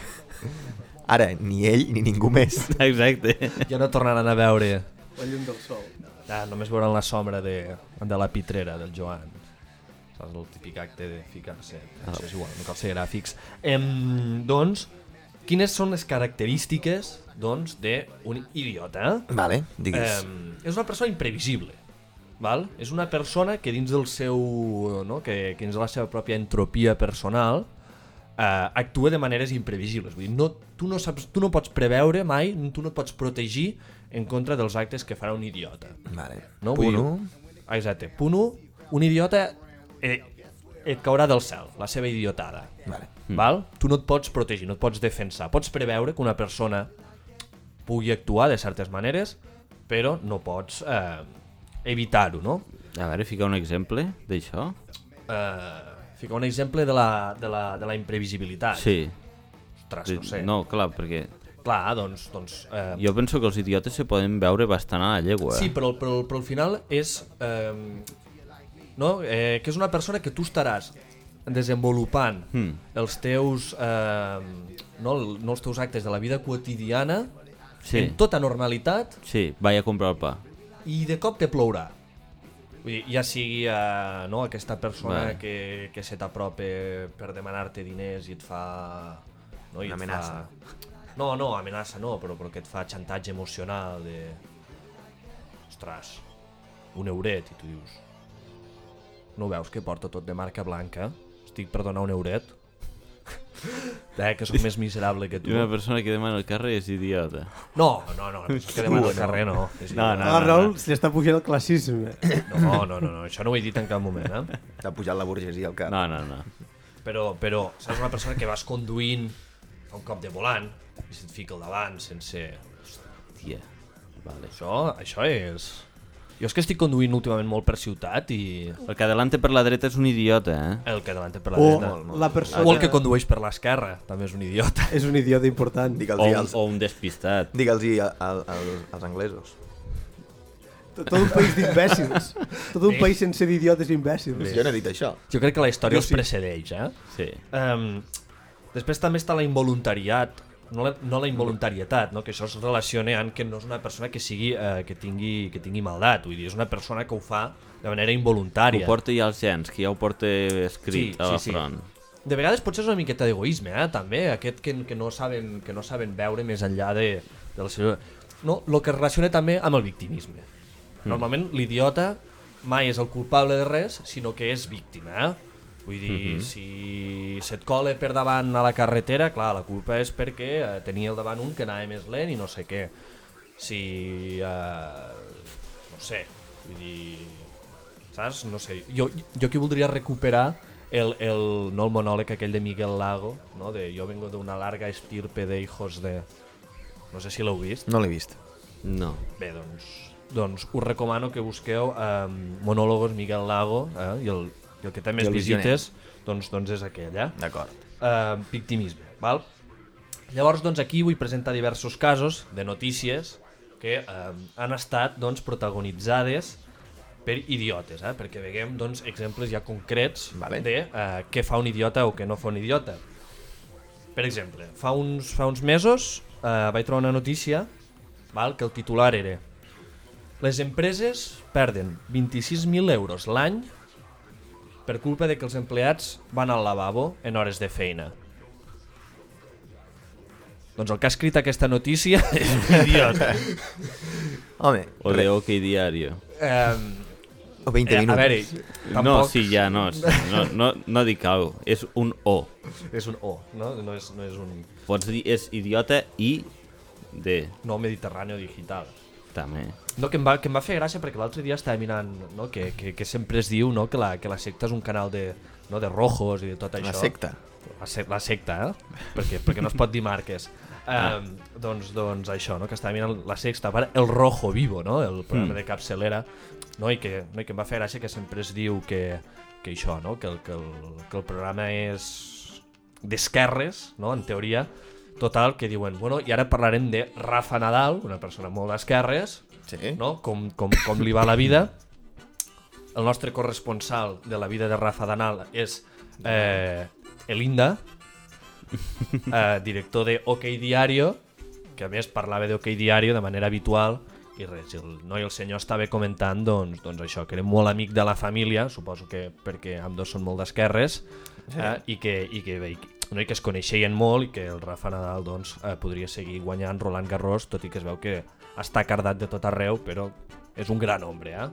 Ara, ni ell ni ningú més.
Exacte.
ja no tornaran a veure.
La llum del sol.
Ah, només veuran la sombra de, de la pitrera del Joan. Saps el típic acte de ficar-se. Ah. Això és igual, no cal ser gràfics. Em, doncs, quines són les característiques doncs, d'un idiota?
Vale, digues.
Em, és una persona imprevisible. Val? És una persona que dins del seu... No? Que, que dins de la seva pròpia entropia personal eh, actua de maneres imprevisibles. Vull dir, no, tu, no saps, tu no pots preveure mai, tu no et pots protegir en contra dels actes que farà un idiota.
Vale.
No?
Punt
Vull dir-
un.
Ah, Exacte. Punt 1, un idiota eh, et caurà del cel, la seva idiotada.
Vale.
Val? Tu no et pots protegir, no et pots defensar. Pots preveure que una persona pugui actuar de certes maneres, però no pots eh, evitar-ho, no?
A veure, fica un exemple d'això.
Eh, ficar un exemple de la, de la, de la
Ah,
imprevisibilitat.
Sí.
Ostres, no sé.
No, clar, perquè
Clar, doncs... doncs eh,
jo penso que els idiotes se poden veure bastant a la eh. llegua.
Sí, però, però, però al final és... Eh, no? eh, que és una persona que tu estaràs desenvolupant
Mm.
els teus, eh, no, el- no els teus actes de la vida quotidiana
Sí.
en tota normalitat
Sí, vaig a comprar el pa.
i de cop te plourà. Vull dir, ja sigui eh, no, aquesta persona
Vale.
que, que se t'apropa per demanar-te diners i et fa... No, i
Una
et
amenaça.
Fa... No, no, amenaça no, però, però que et fa xantatge emocional de... Ostres, un euret, i tu dius... No ho veus que porta tot de marca blanca? Estic per donar un euret? Eh, que sóc més miserable que tu.
I una persona que demana al carrer és idiota.
No, no, no, la persona que demana al carrer no. És
No,
igual.
no.
Ah,
L'Arnau se Ah, li està pujant el classisme.
No, no, no, no, això no ho he dit en cap moment, eh?
T'ha pujat la burgesia al cap.
No, no, no.
Però, però saps una persona que vas conduint a un cop de volant i se't fica al davant sense...
Tia. Vale.
Això, això és... Jo és que estic conduint últimament molt per ciutat i
El que adelante per la dreta és un idiota, eh?
el que davant per la
O
dreta...
la persona...
O el que condueix per l'esquerra, també és un idiota.
És un idiota important.
O
Digue'ls
un,
als,
o un despistat.
digue'ls als, als anglesos.
Tot un país d'imbècils. Tot un país sense d'idiotes imbècils.
Jo no he dit això.
Jo crec que la història els precedeix, eh?
Sí.
Um, després també està la involuntariat, no la, no la involuntarietat, no? que això es relaciona amb que no és una persona que sigui eh, que, tingui, que tingui maldat, vull dir, és una persona que ho fa de manera
Ho
involuntària.
porta ja als gens, que ja ho porta escrit
Sí,
a la
sí, sí.
front.
De vegades potser és una miqueta d'egoisme, eh, també, aquest que, que, no saben, que no saben veure més enllà de, de la seva... No, el que es relaciona també amb el victimisme.
Mm.
Normalment l'idiota mai és el culpable de res, sinó que és víctima, eh? Vull dir,
Mhm.
si se't cola per davant a la carretera, clar, la culpa és perquè eh, tenia al davant un que anava més lent i no sé què. Si... Eh, no sé, vull dir, saps? No sé, jo, jo aquí voldria recuperar el, el, no el monòleg aquell de Miguel Lago, no? de jo vengo d'una larga estirpe de hijos de... No sé si l'heu vist.
No l'he vist.
No.
Bé, doncs, doncs us recomano que busqueu eh, monòlogos Miguel Lago eh, i, el, i el que té més
el
visites doncs, doncs és aquell, eh?
D'acord.
eh, victimisme. Val? Llavors, doncs, aquí vull presentar diversos casos de notícies que eh, han estat doncs, protagonitzades per idiotes, eh? perquè veiem doncs, exemples ja concrets
Vale.
de eh, què fa un idiota o què no fa un idiota. Per exemple, fa uns, fa uns mesos eh, vaig trobar una notícia val, que el titular era les empreses perden 26.000 euros l'any per culpa de que els empleats van al lavabo en hores de feina. Doncs el que ha escrit aquesta notícia és un idiota.
Home,
O de OK Diario.
Eh,
o 20
eh, a
minuts.
veure,
No,
tampoc
sí, ja, no. No, no, no dic au, és un O.
és un O, no? No és, no és un
Pots dir és idiota i de...
no mediterrani digital.
També.
No, que em va, que em va fer gràcia perquè l'altre dia estava mirant no, que, que, que sempre es diu no, que, la, que la secta és un canal de, no, de rojos i de tot això.
La secta.
La, se la secta, eh? Perquè, perquè no es pot dir marques. Ah. Eh, doncs, doncs això, no, que estava mirant la sexta, per El Rojo Vivo, no? el programa
Mm.
de capçalera, no? I, que, no, i que em va fer gràcia que sempre es diu que, que això, no? que, el, que, el, que el programa és d'esquerres, no? en teoria, total, que diuen, bueno, i ara parlarem de Rafa Nadal, una persona molt d'esquerres,
Sí.
no? com, com, com li va la vida. El nostre corresponsal de la vida de Rafa Danal és eh, Elinda, eh, director de OK Diario, que a més parlava de OK Diario de manera habitual, i res, i el noi, el senyor, estava comentant doncs, doncs això, que era molt amic de la família, suposo que perquè amb dos són molt d'esquerres, eh, i que, i que, bé, i que no, i que es coneixien molt i que el Rafa Nadal doncs, eh, podria seguir guanyant Roland Garros, tot i que es veu que està cardat de tot arreu, però és un gran home, eh?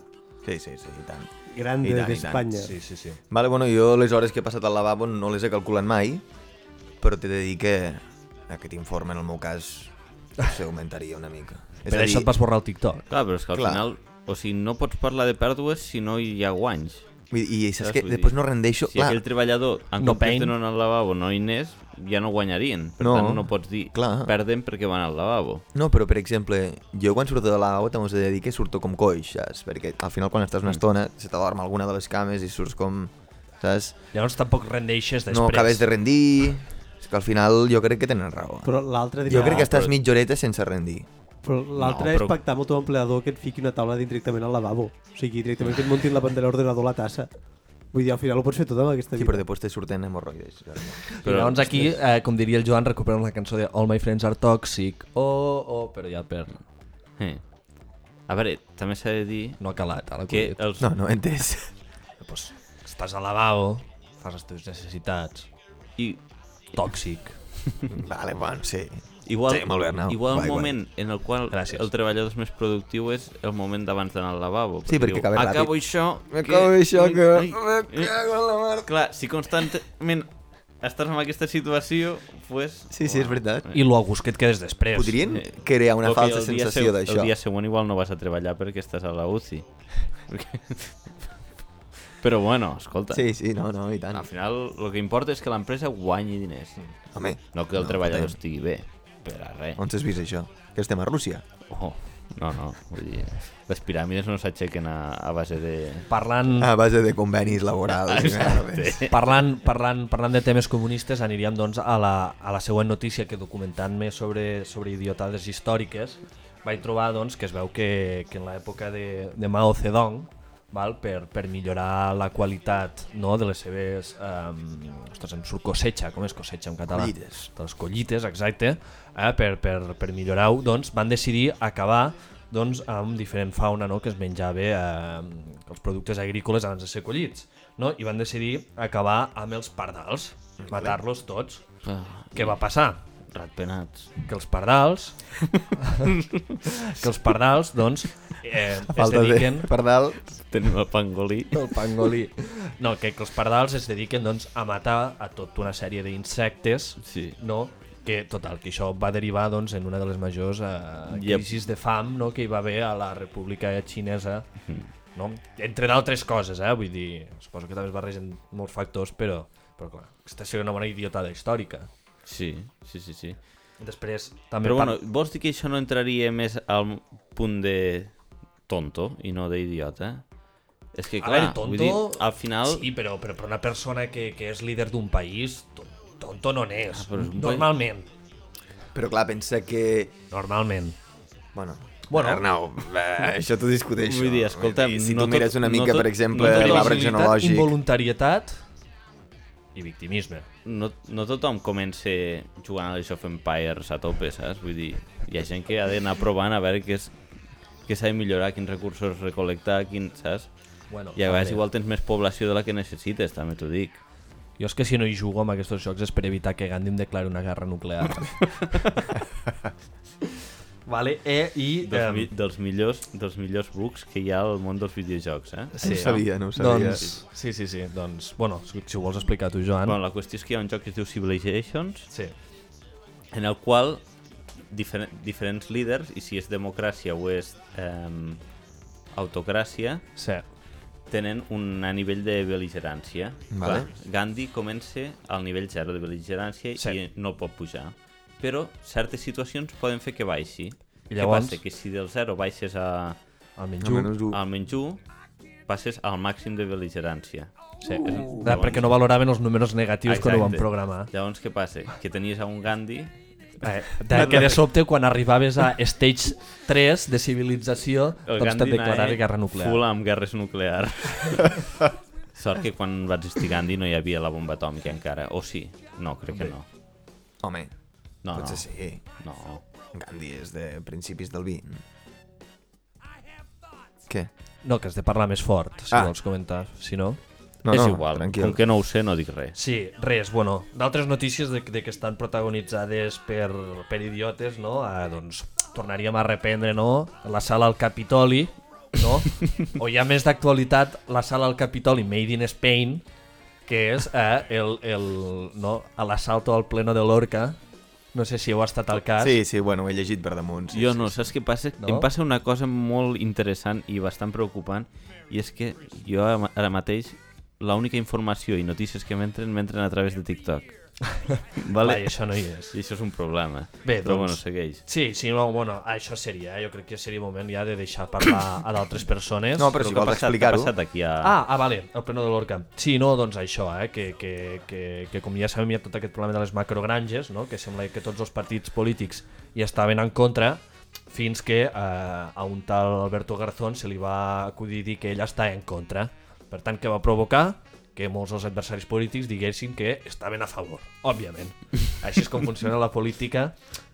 Sí, sí, sí, i tant.
Grande
I tant, i tant.
d'Espanya.
Sí, sí, sí.
Vale, bueno, jo les hores que he passat al lavabo no les he calculat mai, però t'he de dir que aquest informe, en el meu cas, s'augmentaria una mica.
És per això et vas borrar el TikTok.
Clar, però és que al
Clar.
Clar. final... O sigui, no pots parlar de pèrdues si no hi ha guanys.
I, i saps
Saps?
que
Vull dir,
després no rendeixo...
Si clar. aquell treballador,
No
en no comptes
pain.
de no anar al lavabo, no hi anés, ja no guanyarien. Per
No.
tant, no pots dir,
Clar.
perden perquè van al lavabo.
No, però per exemple, jo quan surto de l'aigua també us he de dir que surto com coix, saps? Perquè al final quan estàs una
Mm.
estona se t'adorm alguna de les cames i surts com... Saps?
Llavors tampoc rendeixes després.
No acabes de rendir... És que al final jo crec que tenen raó. eh.
Però l'altre
jo
diria...
crec que estàs
però-
mitja horeta sense rendir.
Però l'altre
No,
no,
però-
és pactar amb el teu empleador que et fiqui una taula dins directament al lavabo. O sigui, directament que et muntin la pantalla ordenador a la tassa. Vull dir, al final ho pots fer tot amb aquesta
Sí,
vida.
però després te surten hemorroides.
Però... Llavors aquí, eh, com diria el Joan, recuperem la cançó de All my friends are toxic. Oh, oh, però ja per...
Eh. A veure, també s'ha de dir
No ha calat, ara
que eh,
que...
els...
No, no, he entès.
Pues, estàs al lavabo, fas les teves necessitats.
I
Tòxic.
Vale, bueno, sí.
Igual,
Sí, molt bé, Arnau.
igual
Guai,
el
guai.
moment en el qual
Gràcies.
el treballador és més productiu és el moment d'abans d'anar al lavabo.
Sí, perquè acaba ràpid.
Acabo això...
M'acabo això que...
Ai,
Me
ai,
cago en la mar.
Clar, si constantment estàs en aquesta situació, pues...
Sí, sí, és veritat.
I lo a gust que et quedes després.
Podrien crear una
o que
falsa
el dia
sensació
seu-
d'això.
El dia següent igual no vas a treballar perquè estàs a la UCI. Perquè- Però bueno, escolta,
Sí, sí, no, no, i tant.
al final el que importa és que l'empresa guanyi diners,
Home,
no que el treballador estigui bé, per a res.
on s'has vist això? Que estem a Rússia?
Oh, no, no, vull dir, les piràmides no s'aixequen a, a base de... Mm.
Parlant
A base de convenis laborals. eh? merdes.
parlant, parlant, parlant de temes comunistes aniríem doncs, a, la, a la següent notícia que documentant-me sobre, sobre idiotades històriques vaig trobar doncs, que es veu que, que en l'època de, de Mao Zedong val? Per, per millorar la qualitat no, de les seves um, ostres, em surt cosecha, com és cosecha en català?
Collites.
De les doncs, collites, exacte eh? per, per, per millorar-ho doncs, van decidir acabar doncs, amb diferent fauna no? que es menjava eh, els productes agrícoles abans de ser collits no? i van decidir acabar amb els pardals matar-los tots
Ah,
què va passar?
ratpenats.
que els pardals que els pardals doncs eh, es
Falta de
dediquen
pardal.
Tenim el pangolí.
el pangolí no, que, que els pardals es dediquen doncs, a matar a tota una sèrie d'insectes
Sí.
no? que total, que això va derivar doncs, en una de les majors eh,
Yep.
crisis de fam no? que hi va haver a la república xinesa
Mhm.
no? entre d'altres coses eh? vull dir, suposo que també es barregen molts factors però, però clar, aquesta seria una bona idiotada històrica
Sí, sí, sí, sí.
després també
Però bueno,
par-
vols dir que això no entraria més al punt de tonto i no d'idiota? És que
A
clar,
veure, tonto...
vull dir, al final...
Sí, però, però, però una persona que, que és líder d'un país, to- tonto no n'és.
Ah, però és un país-
normalment.
Però clar, pensa que...
Normalment.
Bueno,
Bueno.
Arnau, eh, això t'ho discuteixo.
Vull dir, escolta,
si
no
tu
tot-
mires una
no
mica,
tot-
per exemple,
no tot
l'arbre
Invisibilitat,
genològic...
Involuntarietat i victimisme.
No, no tothom comença jugant a l'Age of Empires a tope, saps? Vull dir, hi ha gent que ha d'anar provant a veure què és què s'ha de millorar, quins recursos recolectar, quins, saps?
Bueno,
I a vegades
també.
igual tens més població de la que necessites, també t'ho dic.
Jo és que si no hi jugo amb aquests jocs és per evitar que Gandhi em declari una guerra nuclear. vale, eh, i...
Dels, mi,
Eh,
dels, millors, dels millors bugs que hi ha al món dels videojocs, eh?
Sí, no ho sabia, no ho sabia.
doncs, sí, sí, sí, doncs, bueno, si, si ho vols explicar tu, Joan.
Bueno, la qüestió és que hi ha un joc que es diu Civilizations,
Sí,
en el qual difer diferents líders, i si és democràcia o és eh, autocràcia,
sí.
tenen un a nivell de bel·ligerància.
Vale.
Clar, Gandhi comença al nivell 0 de bel·ligerància
Sí.
sí. i no pot pujar. Però certes situacions poden fer que baixi. I
llavors?
llavors... Què passa? Que si del 0 baixes a,
El
Al
menjú.
menys un.
al menys 1, passes al màxim de bel·ligerància.
Sí. Uh, perquè no valoraven els números negatius quan ho van
Exacte.
programar.
Llavors què passa? Que tenies a un Gandhi...
Eh, de, que de sobte, quan arribaves a Stage 3 de civilització,
El
doncs te'n
Gandhi
declarava
anava
guerra nuclear.
Full amb guerres nuclears. Sort que quan va existir Gandhi no hi havia la bomba atòmica encara. O sí? No, crec que no.
Home,
No, no.
potser sí.
No.
Gandhi és de principis del 20. Què?
No, que has de parlar més fort, si
Ah.
ah. vols comentar. Si no...
No,
és
no,
igual,
tranquil.
com que no ho sé no dic res.
Sí, res, bueno, d'altres notícies de, de que estan protagonitzades per, per idiotes, no? Ah, doncs tornaríem a reprendre, no? La sala al Capitoli, no? o hi ha més d'actualitat la sala al Capitoli Made in Spain, que és eh, el, el, no? a l'assalto al pleno de l'Orca. No sé si heu estat al cas.
Sí, sí, bueno, ho he llegit per damunt. Sí,
Jo
sí,
no,
sí.
saps què passa?
No?
No? Em passa una cosa molt interessant i bastant preocupant i és que jo ara ara mateix l'única informació i notícies que m'entren m'entren a través de TikTok.
Vale.
vale?
Vai, això no hi és.
I això és un problema.
Bé,
Però
doncs-
bueno, segueix.
Sí, sí, no, bueno, això seria, eh? jo crec que seria moment ja de deixar parlar a d'altres persones.
No, però si
què ha
vols
passat-
explicar-ho.
Què ha passat aquí a...
Ah, ah, vale, el pleno de l'Orca. Sí, no, doncs això, eh, que, que, que, que com ja sabem hi ha tot aquest problema de les macrogranges, no? que sembla que tots els partits polítics hi estaven en contra, fins que eh, a un tal Alberto Garzón se li va acudir dir que ell està en contra. Per tant, que va provocar? Que molts dels adversaris polítics diguessin que estaven a favor, òbviament. Així és com funciona la política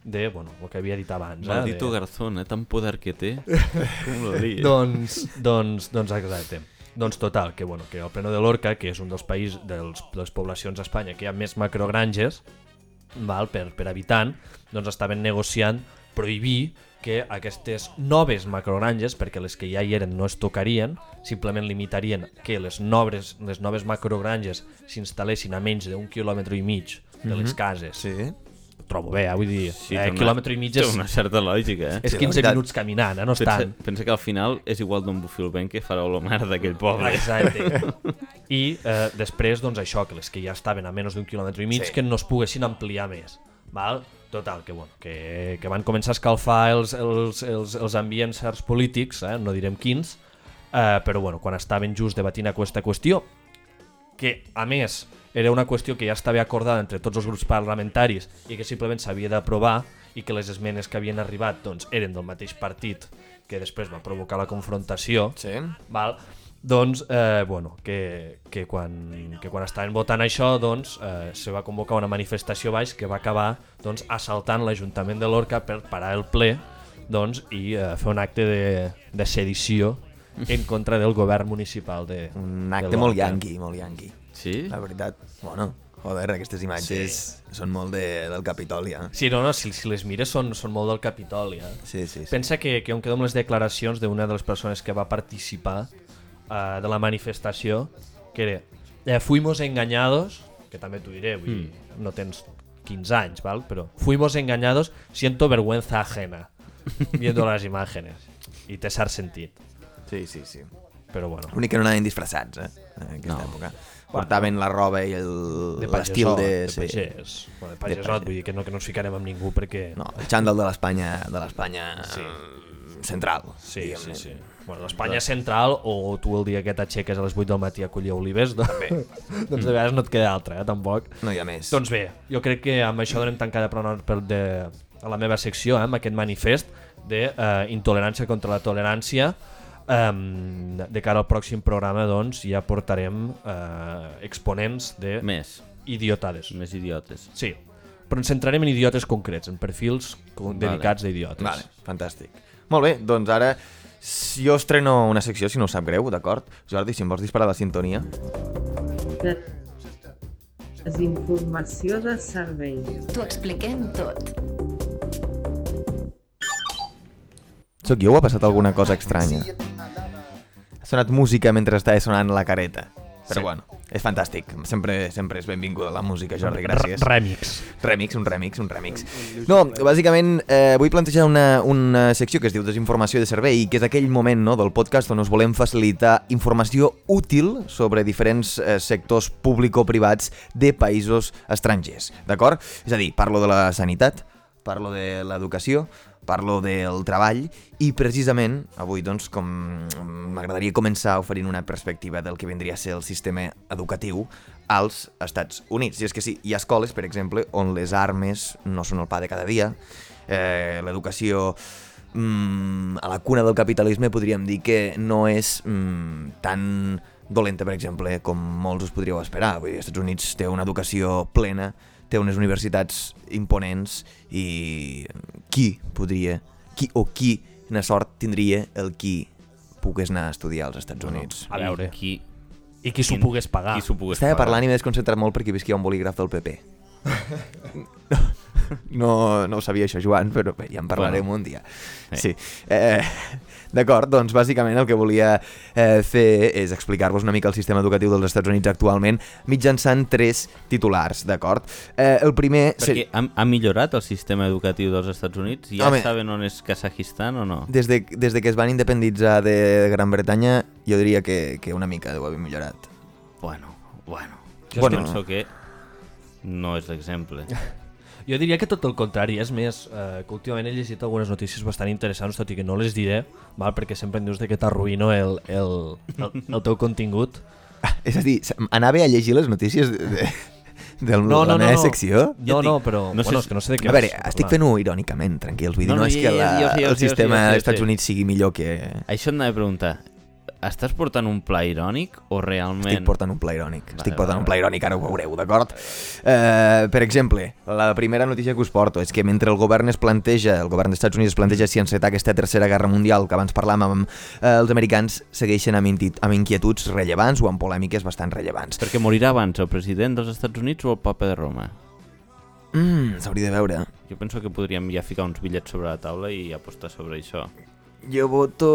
de, bueno, el que havia dit abans.
Maldito
eh, de...
Garzón, eh? Tant poder que té. Com lo dius?
Doncs, doncs, doncs exacte. Doncs total, que, bueno, que el Pleno de l'Orca, que és un dels països, dels, de les poblacions a Espanya que hi ha més macrogranges, val, per, per habitant, doncs estaven negociant prohibir que aquestes noves macrogranges, perquè les que ja hi eren no es tocarien, simplement limitarien que les noves, les noves macrogranges s'instal·lessin a menys d'un quilòmetre i mig de les cases. Sí.
Sí?
Trobo bé, eh? vull dir, sí,
Mhm. té
eh,
una-
quilòmetre i mig
Té
és,
una certa lògica, eh?
és
la
15
veritat.
minuts caminant, eh? no és
Pensa,
tant.
pensa que al final és igual d'un bufilben que farà olor a merda d'aquell pobre.
Exacte. I eh, després, doncs això, que les que ja estaven a menys d'un quilòmetre i mig, sí. que no es poguessin ampliar més. Val? Total, que, bueno, que, que van començar a escalfar els, els, els, els ambients certs polítics, eh? no direm quins, eh, però bueno, quan estaven just debatint aquesta qüestió, que a més era una qüestió que ja estava acordada entre tots els grups parlamentaris i que simplement s'havia d'aprovar i que les esmenes que havien arribat doncs, eren del mateix partit que després va provocar la confrontació,
Sí?
Val? Doncs, eh, bueno, que, que, quan, que quan estaven votant això, doncs, eh, se va convocar una manifestació a baix que va acabar doncs, assaltant l'Ajuntament de Lorca per parar el ple doncs, i eh, fer un acte de, de sedició en contra del govern municipal de
Un
de
acte molt
Lorca.
yanqui, molt yanqui.
Sí?
La veritat. Bueno, joder, aquestes imatges sí. són molt de, del Capitoli, eh?
Sí, no, no, si, si les mires són, són molt del Capitoli, eh?
Sí, sí, sí.
Pensa que, que em quedo amb les declaracions d'una de les persones que va participar uh, de la manifestació, que era eh, Fuimos engañados, que també t'ho diré,
Hmm.
vull mm. no tens 15 anys, val? però Fuimos engañados, siento vergüenza ajena, viendo las imágenes. I té cert sentit,
Sí, sí, sí.
però bueno.
L'únic que no anaven disfressats, eh? En aquesta no. època. Portaven la roba i el- l'estil
pagesó,
de...
de
sí.
pagès. Bueno, de
De
pagesot,
pagès.
vull dir que no, que no ens ficarem amb ningú perquè...
No, el xandall de l'Espanya de l'Espanya sí. central.
Sí, sí,
diguem-ne.
sí. Bueno, l'Espanya central o tu el dia que t'aixeques a les 8 del matí a collir olives, doncs, doncs de vegades no et queda altra, eh, tampoc.
No hi ha més.
Doncs bé, jo crec que amb això donem tancada per, una- per de, a la meva secció, eh, amb aquest manifest d'intolerància contra la tolerància. Um, de cara al pròxim programa, doncs, ja portarem eh, exponents de
Més.
idiotades.
Més idiotes.
Sí, però ens centrarem en idiotes concrets, en perfils con-
Vale.
dedicats d'idiotes.
Vale, fantàstic. Molt bé, doncs ara si jo estreno una secció, si no us sap greu, d'acord? Jordi, si em vols disparar la sintonia.
Desinformació de servei.
T'ho expliquem tot.
Sóc jo o ha passat alguna cosa estranya? Ha sonat música mentre estava sonant la careta. Però sí. bueno, és fantàstic. Sempre, sempre és benvinguda la música, Jordi, gràcies.
Remix.
Remix, un remix, un remix. No, bàsicament eh, vull plantejar una, una secció que es diu Desinformació de servei i que és aquell moment no, del podcast on us volem facilitar informació útil sobre diferents eh, sectors público-privats de països estrangers, d'acord? És a dir, parlo de la sanitat, parlo de l'educació, parlo del treball i precisament avui doncs com m'agradaria començar oferint una perspectiva del que vindria a ser el sistema educatiu als Estats Units. I és que sí, hi ha escoles, per exemple, on les armes no són el pa de cada dia, eh, l'educació mm, a la cuna del capitalisme podríem dir que no és mm, tan dolenta, per exemple, com molts us podríeu esperar. Vull dir, els Estats Units té una educació plena, té unes universitats imponents i qui podria, qui o qui na sort tindria el qui pogués anar a estudiar als Estats Units.
A veure.
I qui,
I qui s'ho pogués pagar.
qui s'ho pogués
Estava parlant i m'he desconcentrat molt perquè visquia un bolígraf del PP. No, no ho sabia això, Joan, però bé, ja en parlarem bueno. un dia. Sí. Eh, D'acord, doncs bàsicament el que volia eh, fer és explicar-vos una mica el sistema educatiu dels Estats Units actualment mitjançant tres titulars, d'acord? Eh, el primer...
Perquè ha, ha millorat el sistema educatiu dels Estats Units? Ja
Home.
saben on és Kazajistan o no?
Des de, des de que es van independitzar de Gran Bretanya, jo diria que, que una mica deu haver millorat.
Bueno, bueno.
Jo
Jo
Bueno.
bueno. penso que no és l'exemple.
Jo diria que tot el contrari, és més, eh, que últimament he llegit algunes notícies bastant interessants, tot i que no les diré, val? perquè sempre em dius de que t'arruïno el, el, el, el teu contingut.
Ah, és a dir, s- anava a llegir les notícies de, de, de no, la no, meva no. secció?
No,
et dic,
no, però...
no
No
sé
bueno,
si-
és que no sé de què
A veure,
vas
estic
parlar.
fent-ho irònicament, tranquils. Vull dir,
No,
no,
no,
és
ja,
que
ja,
la,
ja ho sé, ja ho
el
sé, ja ho
sistema
sé, ja ho sé.
dels Estats Units sigui millor que...
Això em de preguntar, estàs portant un pla irònic o realment...
Estic portant un pla irònic. Estic
vale,
portant un pla
vale.
irònic, ara ho veureu, d'acord? Eh, per exemple, la primera notícia que us porto és que mentre el govern es planteja, el govern dels Estats Units es planteja si encetar aquesta tercera guerra mundial que abans parlàvem, eh, els americans segueixen amb, inti- amb inquietuds rellevants o amb polèmiques bastant rellevants.
Perquè morirà abans el president dels Estats Units o el papa de Roma?
Mm, S'hauria de veure.
Jo penso que podríem ja ficar uns bitllets sobre la taula i apostar sobre això.
Jo voto...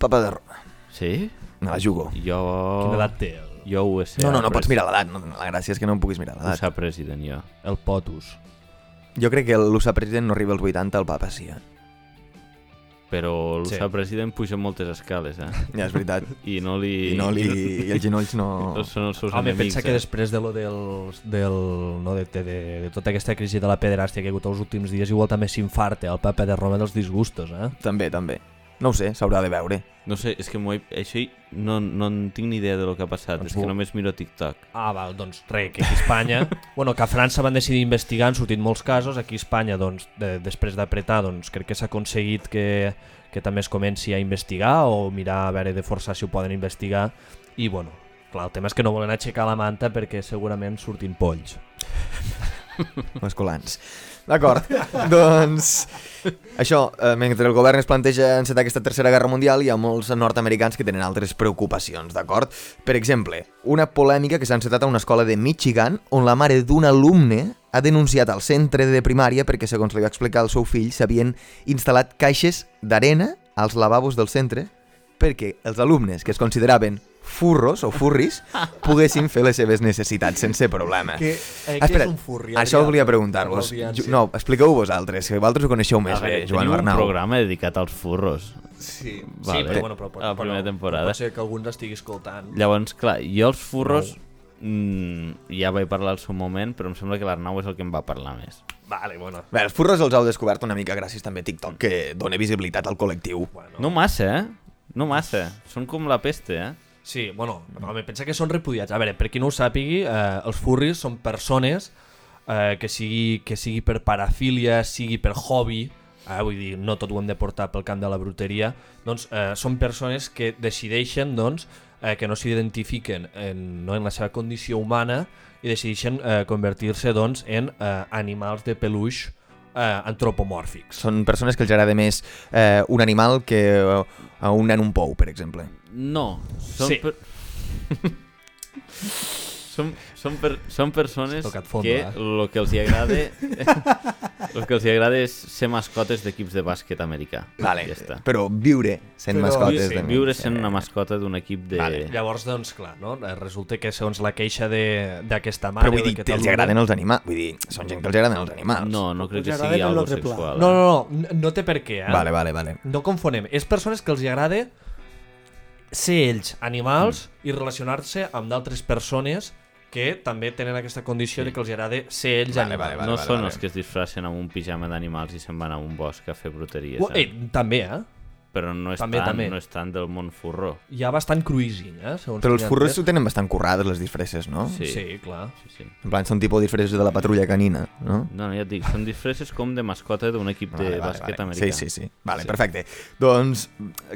Papa de Roma.
Sí? ah,
Me la jugo.
Jo...
Oh.
Quina edat té el,
Jo USA.
No, no, no pots
pres-
mirar l'edat. No, la gràcia és que no em puguis mirar l'edat.
USA president, jo.
el potus?
Jo crec que l'USA president no arriba als 80, el papa sí. Eh?
Però
Sí.
l'USA president puja moltes escales, eh?
Ja, és veritat.
I no li...
I, no li, I els genolls no...
no són els seus
Home,
enemics.
pensa que
eh?
després de lo del, del, no, de, de, de, de tota aquesta crisi de la pederàstia que hi ha hagut els últims dies, igual també s'infarta el paper de Roma dels disgustos, eh?
També, també. No ho sé, s'haurà de veure.
No sé, és que m'ho he... Això hi- no, no en tinc ni idea de lo que ha passat.
Doncs
és que
bu-
només miro TikTok.
Ah, val, doncs res, que aquí a Espanya... bueno, que a França van decidir investigar, han sortit molts casos, aquí a Espanya, doncs, de, després d'apretar, doncs, crec que s'ha aconseguit que, que també es comenci a investigar o mirar a veure de forçar si ho poden investigar. I, bueno, clar, el tema és que no volen aixecar la manta perquè segurament surtin polls.
Masculans. D'acord, doncs... Això, eh, mentre el govern es planteja encetar aquesta tercera guerra mundial, hi ha molts nord-americans que tenen altres preocupacions, d'acord? Per exemple, una polèmica que s'ha encetat a una escola de Michigan on la mare d'un alumne ha denunciat al centre de primària perquè, segons li va explicar el seu fill, s'havien instal·lat caixes d'arena als lavabos del centre perquè els alumnes que es consideraven furros o furris poguessin fer les seves necessitats sense problema.
Que, eh, què
Ah, Espera't,
és un furri,
Això
Adrià?
volia preguntar-vos.
Per l'audiència.
Jo- No, expliqueu vosaltres, que vosaltres ho coneixeu més
A veure,
bé, Joan
teniu
o
un
Arnau.
programa dedicat als furros.
Sí.
Vale.
però bueno, però pot-
A la primera
però
temporada.
Pot ser que algú ens estigui escoltant.
Llavors, clar, jo els furros... Mm, ja vaig parlar al seu moment, però em sembla que l'Arnau és el que em va parlar més.
Vale, bueno.
Bé, els furros els heu descobert una mica gràcies també a TikTok, que dona visibilitat al col·lectiu.
No massa, eh? No massa. Són com la peste, eh?
Sí, bueno, home, pensa que són repudiats. A veure, per qui no ho sàpigui, eh, els furris són persones eh, que, sigui, que sigui per parafília, sigui per hobby, eh, vull dir, no tot ho hem de portar pel camp de la bruteria, doncs eh, són persones que decideixen doncs, eh, que no s'identifiquen en, no, en la seva condició humana i decideixen eh, convertir-se doncs, en eh, animals de peluix eh, antropomòrfics.
Són persones que els agrada més eh, un animal que eh, a un nen un pou, per exemple.
No. Són
Sí.
per... són, són, per, són persones
Has tocat fondo,
que
eh?
el que els hi agrada el que els hi agrada és ser mascotes d'equips de bàsquet americà.
Vale,
Ja està.
però viure sent
Però-
mascotes
Sí,
de mi.
viure sent una mascota d'un equip de...
Vale.
Llavors, doncs, clar, no? Eh, resulta que segons la queixa de- d'aquesta mare...
Però vull
o
dir,
d'aquest
que els
alumne-
agraden els animals. Vull dir, són gent que els agraden els animals.
No, no crec
Us
que
agrada
sigui
com
algo
l'altre pla.
sexual. eh?
No, no, no, n- no té per què, eh?
Vale, vale, vale.
No confonem. És persones que els hi agrada ser ells animals
Mm.
i relacionar-se amb d'altres persones que també tenen aquesta condició de que els hi agrada ser ells
Vale,
animals.
vale,
no
vale,
són
vale.
els que es disfracen amb un pijama d'animals i se'n van a un bosc a fer bruteries.
Ua,
eh?
eh, també, eh?
Però no és,
també,
tant,
també.
no és tant del món forró.
Hi ha bastant cruising, eh? Segons
Però els
tinc
furros
entès.
ho tenen bastant currades, les disfresses, no?
Sí.
Sí, clar.
Sí, sí.
En plan, són tipus disfresses de la patrulla canina, no?
No, no, ja et dic, són disfresses com de mascota d'un equip de bàsquet
vale.
americà.
Sí, sí, sí. Vale, sí. perfecte. Doncs,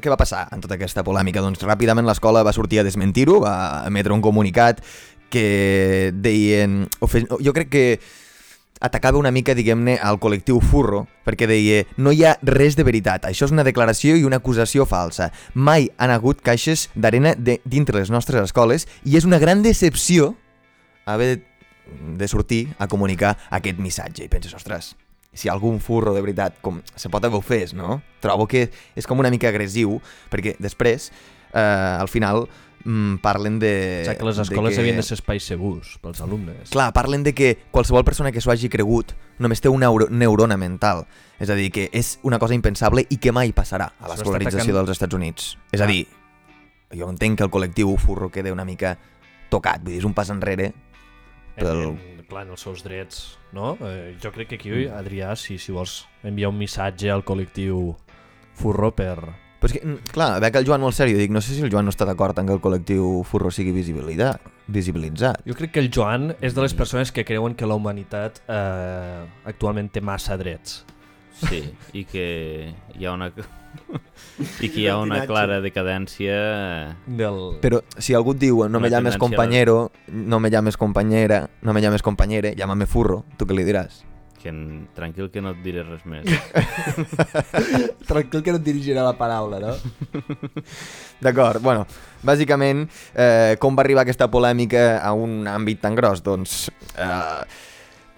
què va passar en tota aquesta polèmica? Doncs ràpidament l'escola va sortir a desmentir-ho, va emetre un comunicat que deien... ofen- Jo crec que atacava una mica, diguem-ne, al col·lectiu furro, perquè deia no hi ha res de veritat, això és una declaració i una acusació falsa. Mai han hagut caixes d'arena de- dintre les nostres escoles i és una gran decepció haver de de sortir a comunicar aquest missatge. I penses, ostres, si algun furro de veritat, com se pot haver ho fes, no? Trobo que és com una mica agressiu, perquè després, eh, al final, mm, parlen de...
O sigui que les escoles que... havien de ser espais segurs pels alumnes.
Clar, parlen de que qualsevol persona que s'ho hagi cregut només té una euro- neurona mental. És a dir, que és una cosa impensable i que mai passarà a
Això
l'escolarització
està atacant-
dels Estats Units. És a
Ah.
dir, jo entenc que el col·lectiu furro queda una mica tocat, vull dir, és un pas enrere pel,
en, en, Eh, clar, en els seus drets, no? Eh, jo crec que aquí, Adrià, si, si vols enviar un missatge al col·lectiu furro per...
Però és que, mm, clar, veig el Joan molt seriós, dic, no sé si el Joan no està d'acord en que el col·lectiu furro sigui visibilitat, visibilitzat.
Jo crec que el Joan és de les persones que creuen que la humanitat eh, actualment té massa drets.
Sí, i que hi ha una... I que hi ha una clara decadència... eh,
Del...
Però si algú et diu, no me
Una
llames
tendència
compañero, no me llames compañera, no me llames compañere, llámame furro, tu què li diràs?
Que en- tranquil que no et diré res més.
Tranquil que no et dirigirà la paraula, no?
D'acord, bueno, bàsicament, eh, com va arribar aquesta polèmica a un àmbit tan gros? Doncs eh,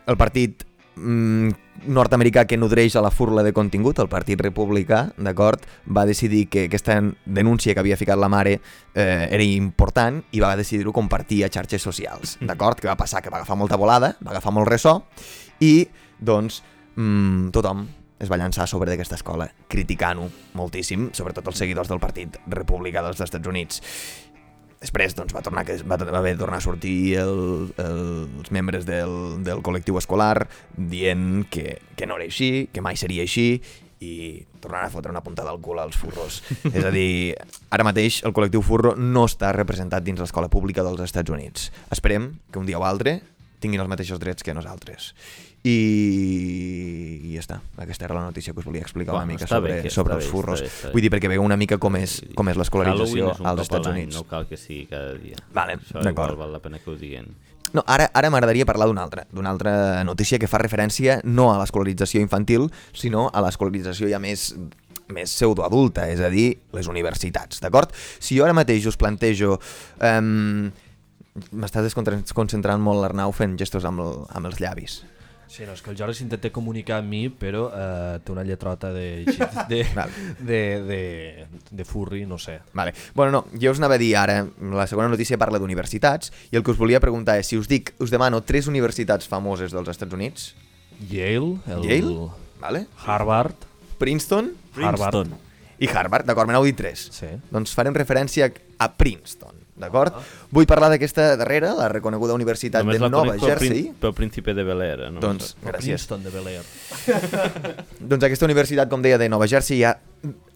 el partit mm, nord-americà que nodreix a la furla de contingut, el Partit Republicà, d'acord, va decidir que aquesta denúncia que havia ficat la mare eh, era important i va decidir-ho compartir a xarxes socials, d'acord? Què va passar? Que va agafar molta volada, va agafar molt ressò i, doncs, mm, tothom es va llançar a sobre d'aquesta escola, criticant-ho moltíssim, sobretot els seguidors del Partit Republicà dels Estats Units. Després doncs, va, tornar, que va, va haver de tornar a sortir el, el, els membres del, del col·lectiu escolar dient que, que no era així, que mai seria així i tornar a fotre una puntada al cul als furros. És a dir, ara mateix el col·lectiu furro no està representat dins l'escola pública dels Estats Units. Esperem que un dia o altre tinguin els mateixos drets que nosaltres. I, i ja està. Aquesta era la notícia que us volia explicar
Bueno,
una mica
està bé,
sobre,
que està
sobre
bé,
els
està
furros.
bé, està bé.
Vull dir, perquè veieu una mica com és, com és l'escolarització
Halloween és un
als
cop
Estats
l'any,
Units.
No cal que sigui cada dia.
Vale,
Això
d'acord.
igual val la pena que ho diguin.
No, ara ara m'agradaria parlar d'una altra, d'una altra notícia que fa referència no a l'escolarització infantil, sinó a l'escolarització ja més més pseudoadulta, és a dir, les universitats, d'acord? Si jo ara mateix us plantejo... Um, M'estàs desconcentrant molt l'Arnau fent gestos amb, el, amb els llavis.
Sí, no, és que el Jordi s'intenta comunicar amb mi, però eh, té una lletrota de, de,
Val.
de, de, de furri, no sé.
Vale. Bueno, no, jo us anava a dir ara, la segona notícia parla d'universitats, i el que us volia preguntar és si us dic, us demano tres universitats famoses dels Estats Units,
Yale, el
Yale, vale?
Harvard,
Princeton
Harvard,
i Harvard, d'acord, me n'heu dit tres.
Sí.
Doncs farem referència a Princeton, d'acord? Vull parlar d'aquesta darrera, la reconeguda Universitat
Només la
de Nova
conec pel,
Jersey.
prin- pel príncipe de Bel Air. eh, No?
Doncs, gràcies.
Princeton de Bel Air.
Doncs aquesta universitat, com deia, de Nova Jersey ha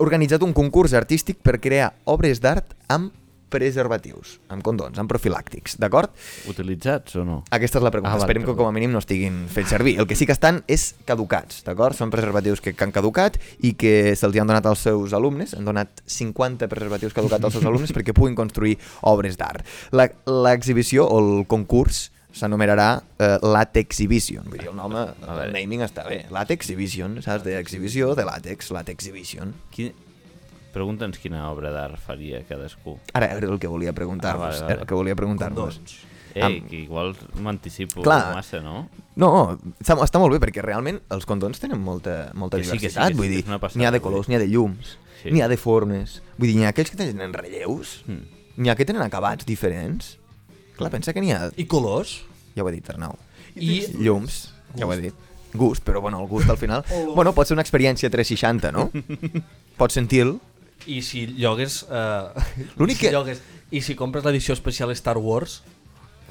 organitzat un concurs artístic per crear obres d'art amb preservatius, amb condons, amb profilàctics, d'acord?
Utilitzats o no?
Aquesta és la pregunta.
Ah,
Ah,
vale,
Esperem que
perdó.
com a mínim no estiguin fent servir. El que sí que estan és caducats, d'acord? Són preservatius que, que han caducat i que se'ls hi han donat als seus alumnes. Han donat 50 preservatius caducats als seus alumnes perquè puguin construir obres d'art. La- L'exhibició o el concurs s'anomenarà eh, Latexivision. Vull dir, el nom, eh, el naming està bé. Latexivision, saps? D'exhibició de làtex, Latexivision.
Quin... Pregunta'ns quina obra d'art faria cadascú.
Ara era el que volia preguntar-vos.
Ah, vale,
Ah,
vale.
vale, El que volia preguntar-vos.
Ei,
Amb-
Eh, que igual m'anticipo
Clar.
massa, no?
No, està, està molt bé, perquè realment els condons tenen molta, molta
Que sí, que sí, que
diversitat,
sí,
vull
que
dir,
és una passada,
n'hi ha de
vull
colors,
dir.
n'hi ha de llums,
Sí. Hmm.
n'hi ha de formes, vull dir, n'hi ha aquells que tenen relleus, n'hi ha que tenen acabats diferents. Clar, pensa que n'hi ha,
I colors?
ja ho he dit Arnau,
I-
llums, ja ho he dit, gust, però bueno, el gust al final,
Oh.
bueno, pot ser una experiència 360, no? Pots sentir-lo,
I si llogues... Eh,
L'únic
si
que-
llogues, I si compres l'edició especial Star Wars,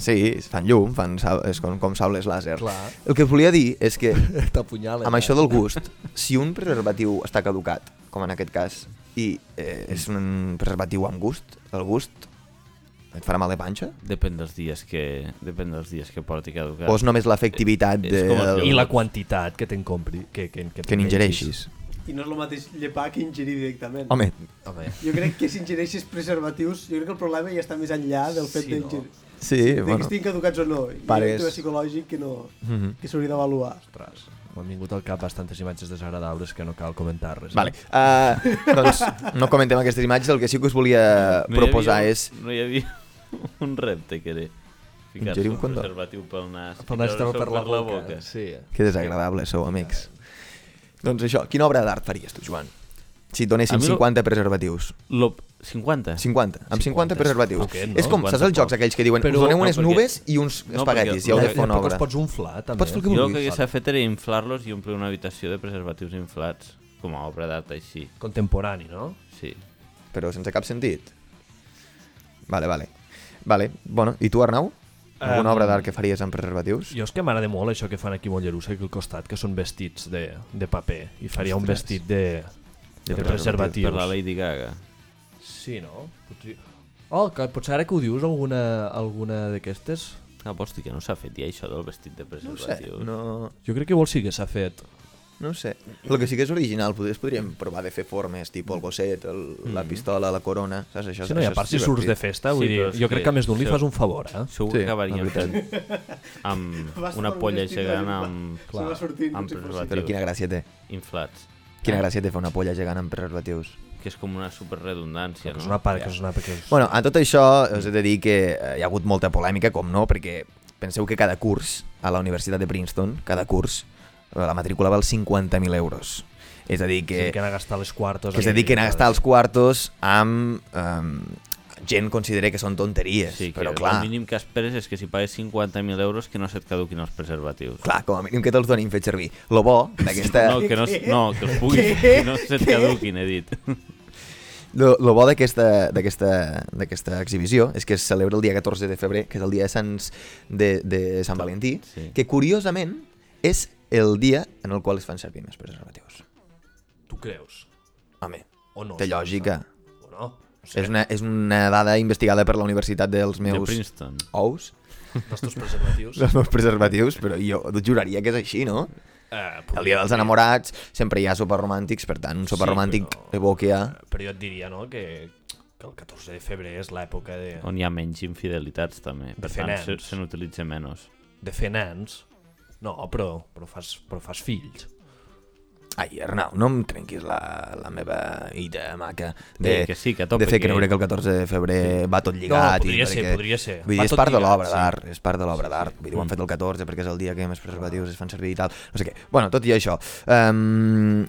sí, es fan llum, fan, sa- és com, com sables làser.
Clar.
El que us volia dir és que
t'apunyala.
Amb això del gust, si un preservatiu està caducat, com en aquest cas, i eh, és un preservatiu amb gust, el gust et farà mal de panxa?
Depèn dels dies que, depèn dels dies que porti caducat.
O és només l'efectivitat
És
de...
com el
del-
I la quantitat que te'n compri, que, que, que,
que
te'n
n'ingereixis.
I no és el mateix llepar que ingerir directament.
Home,
Home,
Jo crec que si ingereixes preservatius, jo crec que el problema ja està més enllà del fet
Sí,
sí,
no?
d'ingir...
sí,
de que
bueno.
estiguin caducats o no. Hi ha
Pares.
un tema psicològic que, no,
Mhm.
que s'hauria d'avaluar.
ostres, m'han vingut al cap bastantes imatges desagradables que no cal comentar-les.
Vale. Uh, doncs no comentem aquestes imatges, el que sí que us volia
hi
proposar
havia,
és...
No hi havia un repte que era ficar-se
Ingerir un
un
condó.
preservatiu pel nas. i
Per anar
treure-se'l
per, la boca. Sí.
Que desagradable sou, amics. Doncs això, quina obra d'art faries tu, Joan? Si et
A
donéssim
mi no-
50 preservatius.
Lo... 50?
50, amb 50,
50
preservatius.
poquet, no?
És com, saps els
50
jocs aquells que diuen
Però-
us doneu
no,
unes
perquè-
nubes i uns
no,
espaguetis
perquè-
i heu
no,
de fer una
Tampoc
obra.
es pots unflar, també.
Pots fer el que
Jo el
vulguis.
que hagués fet era inflar-los i omplir una habitació de preservatius inflats com a obra d'art així.
Contemporani, no?
Sí.
Però sense cap sentit. Vale, vale. Vale, bueno, i tu, Arnau? Alguna
Em,
obra d'art que faries amb preservatius?
Jo és que m'agrada molt això que fan aquí a Mollerussa, aquí al costat, que són vestits de, de paper. I faria un vestit de, de, de preservatius.
Per la Lady Gaga.
Sí, no? Potser... Oh, que potser ara que ho dius, alguna, alguna d'aquestes...
Ah, hosti, que no s'ha fet ja això del vestit de
No ho sé,
preservatius.
no,
Jo crec que igual sí que s'ha fet.
no ho sé. El que sí que és original, potser podríem provar de fer formes, tipus el gosset, el, la pistola, la corona, saps? Això,
Si Mm. no, i a
això
part
és
si surts de
divertit.
festa,
Sí,
vull dir,
però és
jo crec
que
que a més d'un li
això-
fas un favor, eh?
Segur
Sí,
que acabarien
la veritat.
fent amb
Vas
una
per un
polla
vestit de
gegant
gimnàs.
amb,
Se va sortint,
amb
sí, però sí.
Però quina
preservatius
gràcia té.
inflats,
Eh.
Quina gràcia té fer una polla gegant amb preservatius.
que és com una superredundància,
Que
no?
és una part, que és una part que és...
Bueno, a tot això us he de dir que eh, hi ha hagut molta polèmica, com no, perquè penseu que cada curs a la Universitat de Princeton, cada curs, eh, la matrícula val 50.000 euros. És a dir,
que,
que,
que anar a gastar les quartos...
que es dediquen a gastar els quartos amb... Eh, gent considera que són tonteries,
Sí, que
però
el
clar,
mínim que esperes és que si pagues 50.000 euros que no se't caduquin els preservatius.
clar, com a mínim que te'ls donin fet servir. Lo bo d'aquesta...
No, que no, es- no, que els puguis, que no se't caduquin, he dit.
Lo, lo bo d'aquesta d'aquesta- d'aquesta exhibició és que es celebra el dia 14 de febrer, que és el dia de, Sants, de, de Sant Valentí,
Sí.
que curiosament és el dia en el qual es fan servir més preservatius.
Tu creus?
Home,
O no?
té lògica.
O no?
És una, és una dada investigada per la Universitat dels
De
meus
Princeton.
ous,
Els teus preservatius?
dels meus preservatius, però jo juraria que és així, no?
eh,
El dia dels enamorats sempre hi ha sopars romàntics, per tant, un sopar
Sí,
romàntic
però-
evoca...
Però jo et diria, no?, que, que el 14 de febrer és l'època de,
On hi ha menys infidelitats, també. Per
fer
tant,
nens.
se, se n'utilitza menys.
de fer nens. No, però, però, fas, però fas fills.
Ai, Arnau, no em trenquis la, la meva idea maca de,
Sí, que sí, que a tope,
de fer
que-
creure que el 14 de febrer va tot lligat.
podria
i
ser,
perquè-
podria ser.
Vull
Va
dir, és
tot
part de
lligat,
l'obra
sí. Mm.
d'art, és part de l'obra d'art. Vull dir, ho han fet el 14 perquè és el dia que més preservatius es fan servir i tal. No sé què. Bueno, tot i això, um,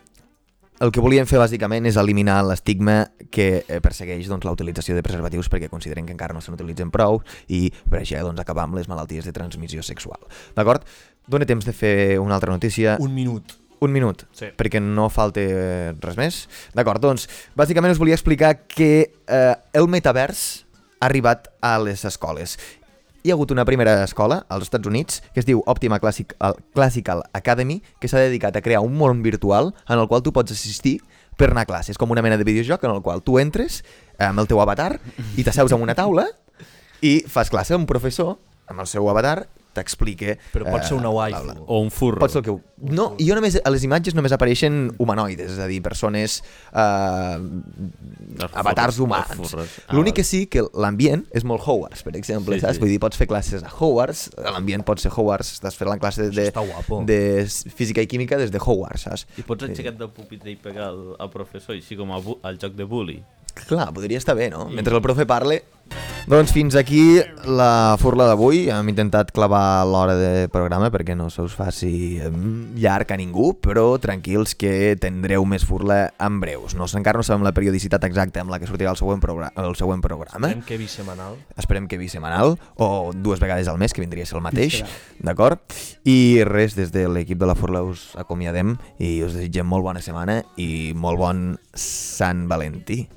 el que volien fer bàsicament és eliminar l'estigma que eh, persegueix doncs, la utilització de preservatius perquè consideren que encara no se n'utilitzen prou i per això doncs, acabar amb les malalties de transmissió sexual. D'acord? Dóna temps de fer una altra notícia.
Un minut.
Un minut,
Sí.
perquè no falta eh, res més. D'acord, doncs, bàsicament us volia explicar que eh, el metavers ha arribat a les escoles. Hi ha hagut una primera escola als Estats Units que es diu Optima Classic, el Classical Academy que s'ha dedicat a crear un món virtual en el qual tu pots assistir per anar a classe. És com una mena de videojoc en el qual tu entres eh, amb el teu avatar i t'asseus en una taula i fas classe amb un professor amb el seu avatar t'explica...
Però pot ser una
Eh, bla, bla.
waifu.
O un furro.
Pot ser el que... ho- No, i jo només, a les imatges només apareixen humanoides, és a dir, persones, eh,
Els
avatars
furros, els
humans.
furros. Ah,
L'únic que
vale.
sí que l'ambient és molt Hogwarts, per exemple,
Sí,
sí, saps?
sí.
Vull dir, pots fer classes a Hogwarts, l'ambient pot ser Hogwarts, estàs fent la classe de,
està guapo.
de física i química des de Hogwarts, saps? Eh,
I pots aixecar del pupitre i pegar al, al professor, així com a bu- al joc de bully.
Clar, podria estar bé, no? Mentre el profe parle, Doncs fins aquí la furla d'avui. Hem intentat clavar l'hora de programa perquè no se us faci mm, llarg a ningú, però tranquils que tindreu més furla en breus. No, encara no sabem la periodicitat exacta amb la que sortirà el següent, progra el següent programa.
Sabem que bisemanal.
Esperem que bisemanal, o dues vegades al mes, que vindria a ser el mateix, d'acord? I res, des de l'equip de la Furla us acomiadem i us desitgem molt bona setmana i molt bon Sant Valentí.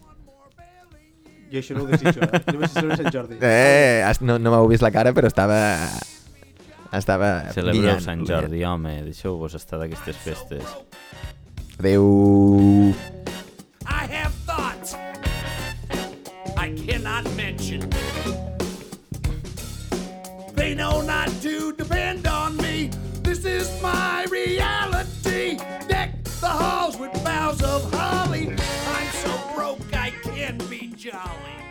Jo això no ho desitjo, eh? Només celebro Sant Jordi.
Eh, has- no, no m'heu vist la cara, però estava... Estava...
Celebreu
brillant,
Sant
brillant.
Jordi, home, deixeu-vos estar d'aquestes festes.
Adéu.
I have thoughts I cannot mention. They know not to depend on me. This is my reality. Deck the halls with boughs of holly. I'm so broke I can't be jolly.